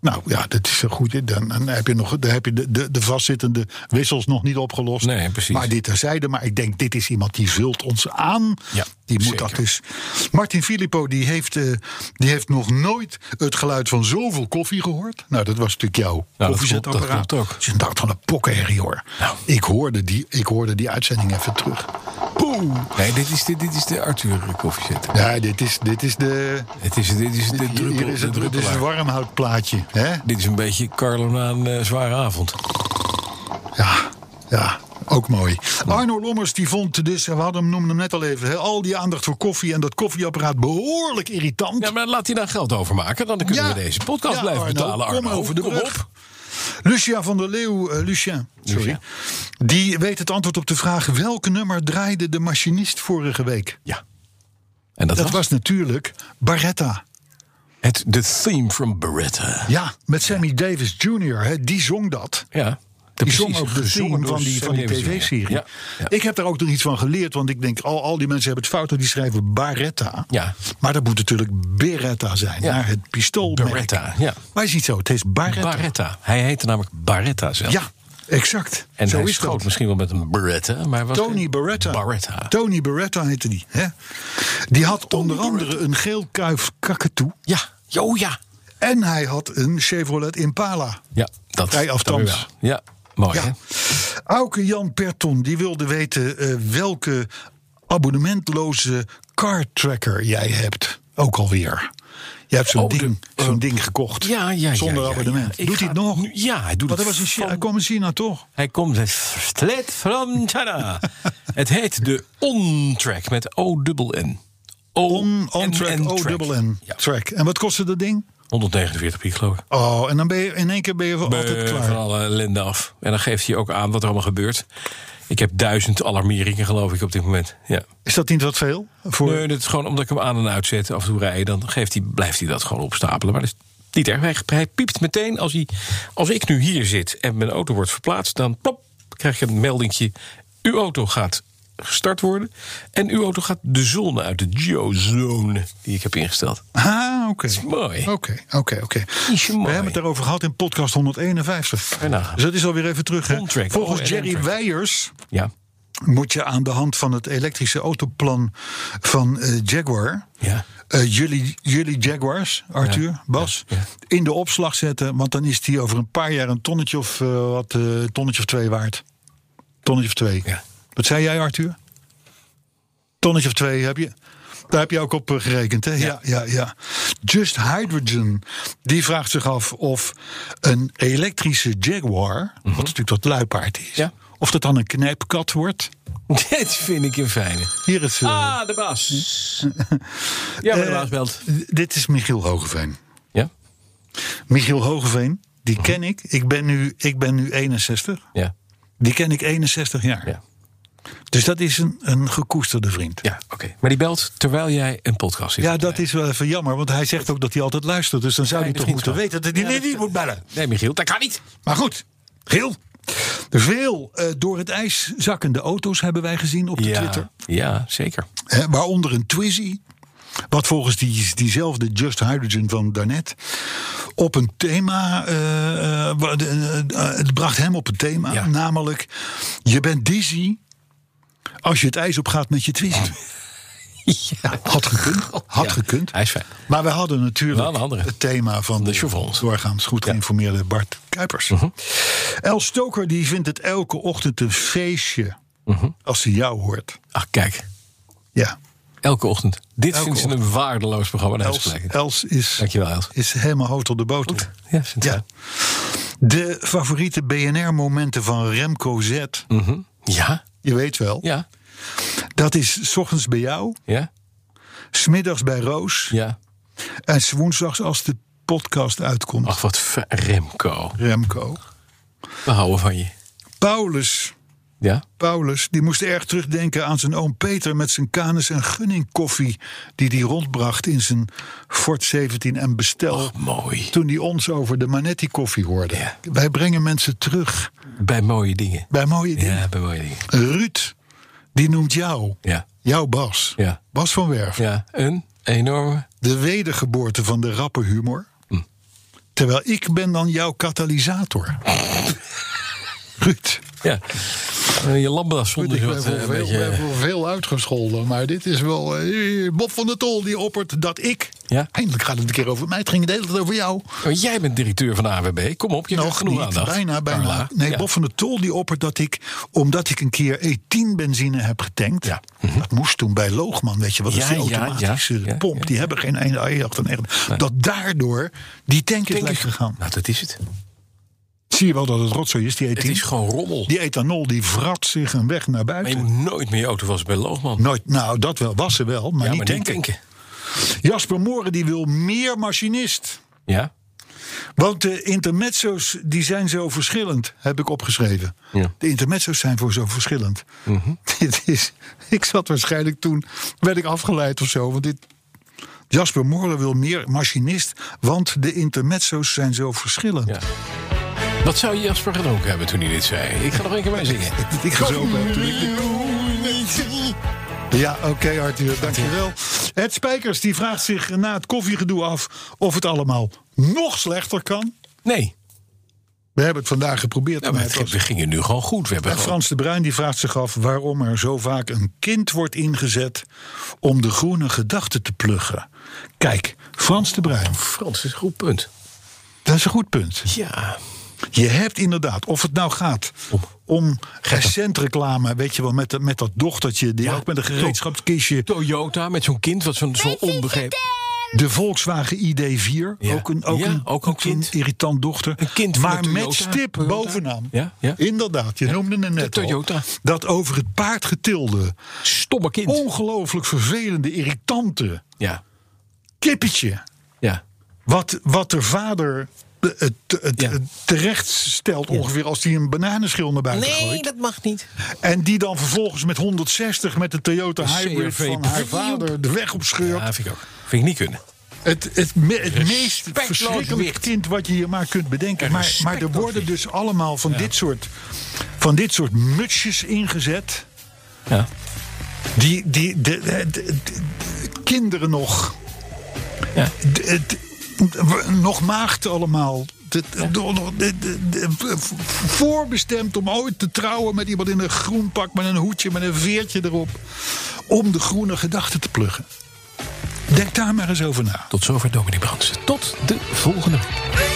C: Nou ja, dat is een goede. Dan, dan heb je, nog, dan heb je de, de, de vastzittende wissels nog niet opgelost.
B: Nee, precies.
C: Maar dit terzijde. Maar ik denk, dit is iemand die vult ons aan.
B: Ja,
C: die moet
B: zeker.
C: dat dus. Martin Filippo die heeft, eh, die heeft nog nooit het geluid van zoveel koffie gehoord. Nou, dat was natuurlijk jouw
B: dat klopt,
C: koffiezetapparaat.
B: dat klopt ook.
C: Dus ik dacht van een pokkerherrie hoor.
B: Nou.
C: Ik, hoorde die, ik hoorde die uitzending even terug. Boom!
B: Nee, dit is, dit, dit is de Arthur koffiezet.
C: Ja, dit is, dit is de.
B: Het is, dit is de
C: Dit,
B: druppel.
C: hier is
B: de
C: het, dit is
B: druppelaar.
C: een warmhoutplaatje. Hè?
B: Dit is een beetje Carlo na een eh, zware avond.
C: Ja, ja, ook mooi. Arno Lommers die vond dus, we hadden hem, noemden hem net al even, hè, al die aandacht voor koffie en dat koffieapparaat behoorlijk irritant.
B: Ja, maar laat hij daar geld overmaken. Dan kunnen
C: Ja.
B: we deze podcast
C: Ja,
B: blijven
C: Arno,
B: betalen.
C: kom
B: Arno,
C: over de brug.
B: op.
C: Lucia van der Leeuw, eh, Lucien, sorry,
B: Lucien.
C: die weet het antwoord op de vraag welk nummer draaide de machinist vorige week?
B: Ja. En dat,
C: Dat
B: was,
C: was natuurlijk Barretta.
B: het The Theme from Beretta.
C: Ja, met Sammy Davis Jr., hè, die zong dat.
B: Ja.
C: Die
B: precies.
C: zong ook de
B: Gezongen
C: theme
B: door
C: van die, van
B: Sammy
C: die
B: Davis Jr.
C: tv-serie.
B: Ja. Ja.
C: Ik heb daar ook nog iets van geleerd, want ik denk, al, al die mensen hebben het fout, want die schrijven Barretta.
B: Ja.
C: Maar dat moet natuurlijk Beretta zijn,
B: Ja.
C: naar het pistool.
B: Beretta, ja.
C: Maar is niet zo, het is Barretta.
B: Barretta. Hij heette namelijk Barretta zelf.
C: Ja, exact.
B: En
C: zo
B: hij
C: is
B: schoot
C: dat.
B: misschien wel met een Beretta. Maar hij was
C: Tony
B: geen-
C: Barretta.
B: Barretta.
C: Tony Barretta heette die. Hè? Die had onder andere een geel kuif kakatoe.
B: Ja. Jo, ja.
C: En hij had een Chevrolet Impala.
B: Ja, dat
C: Vrij
B: dat
C: aftans.
B: weer wel. Ja, mooi hè?
C: Ja. Auke Jan Perton die wilde weten eh, welke abonnementloze car tracker jij hebt. Ook alweer. Je hebt zo'n
B: Oh, de-
C: ding, zo'n ding gekocht.
B: ja, ja, ja,
C: zonder
B: ja, ja.
C: abonnement.
B: Ik
C: Doet
B: ga
C: hij het nog?
B: nu- ja, hij doet
C: Want
B: het
C: hij was in China.
B: van-
C: Hij kwam in China toch?
B: Hij komt uit straight from China. het heet de On-Track met O-N.
C: On, on track, O-double-N
B: Ja,
C: track. En wat kostte dat ding?
B: 149 piek geloof ik.
C: Oh, en dan ben je in één keer ben je voor altijd
B: Eh, Van
C: klaar.
B: alle ellende af. En dan geeft hij ook aan wat er allemaal gebeurt. Ik heb duizend alarmeringen geloof ik op dit moment. Ja.
C: Is dat niet wat veel? Voor...
B: Nee, dat is gewoon omdat ik hem aan en uitzet, af en toe rijden, dan geeft hij, blijft hij dat gewoon opstapelen. Maar dat is niet erg. Hij, hij piept meteen als, hij, als ik nu hier zit en mijn auto wordt verplaatst, dan plop, krijg je een meldingje. Uw auto gaat gestart worden en uw auto gaat de zone uit, de geozone die ik heb ingesteld.
C: Ah, oké.
B: is mooi.
C: Oké, oké, oké.
B: Is
C: We
B: mooi.
C: hebben het daarover gehad in podcast 151.
B: En nou.
C: Dus dat is alweer even terug. hè.
B: On-track,
C: Volgens
B: on- Oh, en
C: Jerry
B: on-track.
C: Weijers
B: Ja,
C: moet je aan de hand van het elektrische autoplan van eh, Jaguar...
B: ja.
C: eh, jullie, jullie Jaguars, Arthur, Bas,
B: ja, ja.
C: in de opslag zetten. Want dan is die over een paar jaar een tonnetje of, eh, wat, eh, tonnetje of twee waard. Tonnetje of twee.
B: Ja.
C: Wat zei jij, Arthur? Tonnetje of twee heb je. Daar heb je ook op eh, gerekend, hè? Ja. ja, ja, Just Hydrogen, die vraagt zich af of een elektrische Jaguar... wat natuurlijk dat luipaard is...
B: Mhm. Ja.
C: of dat dan een knijpkat wordt.
B: Dit vind ik een fijne.
C: Hier is... eh,
B: Ah, de baas. Ja, maar de
C: eh,
B: baas belt.
C: d- Dit is Michiel Hogeveen.
B: Ja?
C: Michiel Hogeveen,
B: Mhm.
C: die ken ik. Ik ben nu, ik ben nu 61.
B: Ja.
C: Die ken ik 61 jaar.
B: Ja,
C: Dus dat is een, een gekoesterde vriend.
B: ja oké. Maar die belt terwijl jij een podcast zit.
C: Ja,
B: te
C: dat
B: draaien.
C: is wel even jammer, want hij zegt ook dat hij altijd luistert. Dus dan zou hij
B: Nee,
C: toch
B: dat is
C: moeten
B: niet
C: weten dat hij
B: Ja,
C: dit
B: dat-
C: niet moet bellen.
B: Nee, Michiel, dat kan niet.
C: Maar goed, Giel. Veel eh, door het ijs zakkende auto's hebben wij gezien op de Twitter.
B: ja, zeker.
C: Hè, waaronder een Twizy. Wat volgens die, diezelfde Just Hydrogen van daarnet. op een thema. eh, eh, wa- de- eh, eh, het bracht hem op een thema.
B: Ja.
C: Namelijk: je bent dizzy. als je het ijs op gaat met je Twizy. Ja, had gekund. Had
B: Oh. Ja,
C: gekund.
B: hij is fijn.
C: Maar we hadden natuurlijk
B: Wel een andere.
C: het thema van
B: De Mhm.
C: de,
B: chauvins.
C: doorgaans goed geïnformeerde Bart Kuipers. El Stoker die vindt het elke ochtend een feestje.
B: Mhm.
C: als hij jou hoort.
B: Ach, kijk.
C: Ja.
B: Elke ochtend. Dit
C: Elke
B: vindt ze een waardeloos programma. Dat is
C: Els,
B: gelijk.
C: Els is,
B: Dankjewel, Els.
C: is helemaal hoofd op de boter.
B: Ja, vindt
C: Ja.
B: ja.
C: De favoriete BNR-momenten van Remco Z.
B: ja,
C: Je weet wel.
B: Mm. ja,
C: Dat is 's ochtends bij jou,
B: ja,
C: 's middags bij Roos
B: ja.
C: en 's woensdags als de podcast uitkomt.
B: Ach, wat fijn. Remco.
C: Remco.
B: We houden van je.
C: Paulus.
B: Ja?
C: Paulus, die moest erg terugdenken aan zijn oom Peter met zijn kanus en gunning koffie. die hij rondbracht in zijn Ford 17 en bestel.
B: Och, mooi.
C: toen hij ons over de Manetti koffie hoorde.
B: Ja.
C: Wij brengen mensen terug
B: Bij mooie dingen.
C: bij mooie dingen.
B: Ja, bij mooie dingen.
C: Ruud, die noemt jou.
B: Ja,
C: Jouw Bas.
B: ja,
C: Bas van Werf.
B: ja. Hm. Een enorme.
C: De wedergeboorte van de rappe humor. Terwijl ik ben dan jouw katalysator. Ruud.
B: Ja. En je lambda's
C: Goed,
B: zonder
C: ik
B: zo
C: ben
B: wat,
C: voor
B: eh, een
C: veel,
B: beetje-
C: ben voor veel uitgescholden, maar dit is wel... eh, Bob van der Tol die oppert dat ik...
B: Ja?
C: Eindelijk gaat het een keer over mij, het ging de hele tijd over jou.
B: Oh, jij bent directeur van de AWB. Kom op, je hebt genoeg
C: niet,
B: aandacht.
C: bijna, bijna.
B: Carla.
C: Nee,
B: Ja.
C: Bob van der Tol die oppert dat ik, omdat ik een keer E10 benzine heb getankt... Mhm.
B: Ja.
C: dat moest toen bij Loogman, weet je, wat is
B: Ja,
C: die
B: ja, ja,
C: automatische
B: ja,
C: pomp...
B: ja.
C: die hebben geen einde ajacht en echt... dat daardoor die tank is
B: Denk
C: lek
B: ik.
C: gegaan.
B: Nou, dat is het.
C: Zie je wel dat het rotzooi is, die E10?
B: Het is E gewoon rommel.
C: Die ethanol die vrat zich een weg naar
B: Maar
C: buiten.
B: je moet nooit meer je auto wassen bij Loogman.
C: Nooit, nou, dat wel, was ze wel, maar
B: ja,
C: niet
B: maar
C: tanken.
B: niet tanken.
C: Jasper Moren die wil meer machinist.
B: Ja?
C: Want de intermezzo's die zijn zo verschillend, heb ik opgeschreven.
B: Ja. Mhm.
C: De intermezzo's zijn voor zo verschillend. Dit is, ik zat waarschijnlijk toen, werd ik afgeleid of zo. Want dit, Jasper Moren wil meer machinist, want de intermezzo's zijn zo verschillend.
B: Ja. Wat zou Jasper gedronken hebben toen hij dit zei? Ik ga nog een keer bij zingen.
C: Ik gezopen heb toen ik dit- Ja, oké Arthur, dankjewel. Ed Spijkers die vraagt zich na het koffiegedoe af of het allemaal nog slechter kan.
B: Nee,
C: We hebben het vandaag geprobeerd.
B: nou, maar
C: maar
B: het
C: het was-
B: ging- we gingen nu gewoon goed. We hebben
C: En
B: gewoon...
C: Frans de Bruin die vraagt zich af waarom er zo vaak een kind wordt ingezet om de groene gedachte te pluggen. Kijk, Frans de Bruin,
B: Frans is een goed punt.
C: dat is een goed punt.
B: Ja.
C: Je hebt inderdaad, of het nou gaat
B: Om.
C: om recentreclame, weet je wel, met, dat- met dat dochtertje, die
B: Ja,
C: ook met een gereedschapskistje,
B: Toyota met zo'n kind wat zo'n zo onbegrepen...
C: de Volkswagen ID4,
B: Ja.
C: ook een, ook
B: Ja,
C: een,
B: ook een
C: zo'n
B: kind.
C: irritant dochter,
B: Een kind van
C: maar
B: een
C: met
B: Toyota,
C: stip
B: Toyota.
C: bovenaan.
B: Ja, ja.
C: Inderdaad, je noemde het net al.
B: Toyota.
C: dat over het paard getilde.
B: Stomme kind.
C: ongelooflijk vervelende, irritante
B: Ja.
C: kippetje.
B: Ja.
C: Wat, wat de vader eh, het, het,
B: Ja.
C: het terecht stelt ongeveer als hij een bananenschil naar buiten gooit.
B: dat mag niet.
C: En die dan vervolgens met 160 met de Toyota
B: De
C: Hybrid
B: CRV
C: van haar
B: Pioep.
C: vader de weg op scheurt.
B: Ja, vind ik ook. Vind ik niet kunnen.
C: Het, het, me- het meest
B: Respectloos
C: verschrikkelijk
B: wicht.
C: kind wat je je maar kunt bedenken.
B: Een
C: Maar, maar er
B: respectloos
C: worden
B: wicht.
C: dus allemaal van, dit soort, van dit soort mutsjes ingezet.
B: Ja.
C: Die, die, de, de- de- de- de- kinderen nog.
B: Ja.
C: De- het- w- nog maagd allemaal. De- de- de- de- de- de- v- voorbestemd om ooit te trouwen met iemand in een groen pak, met een hoedje, met een veertje erop. Om de groene gedachten te pluggen. Denk daar maar eens over na.
B: Tot zover Dominic Brands. Tot de volgende week.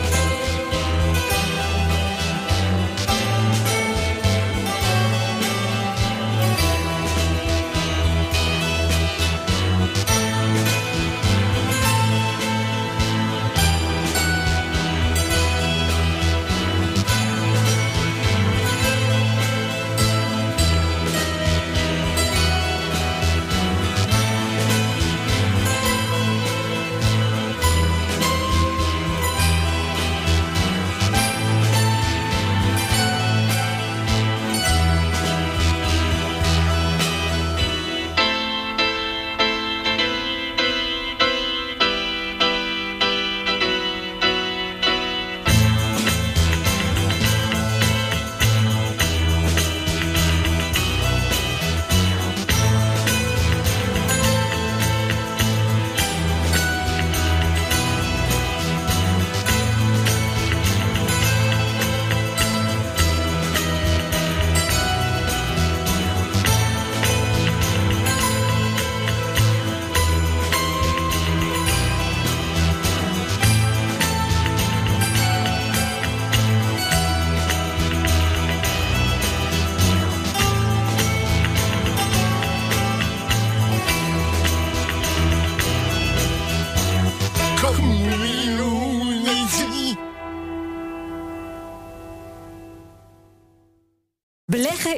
D: Come
F: Beleggen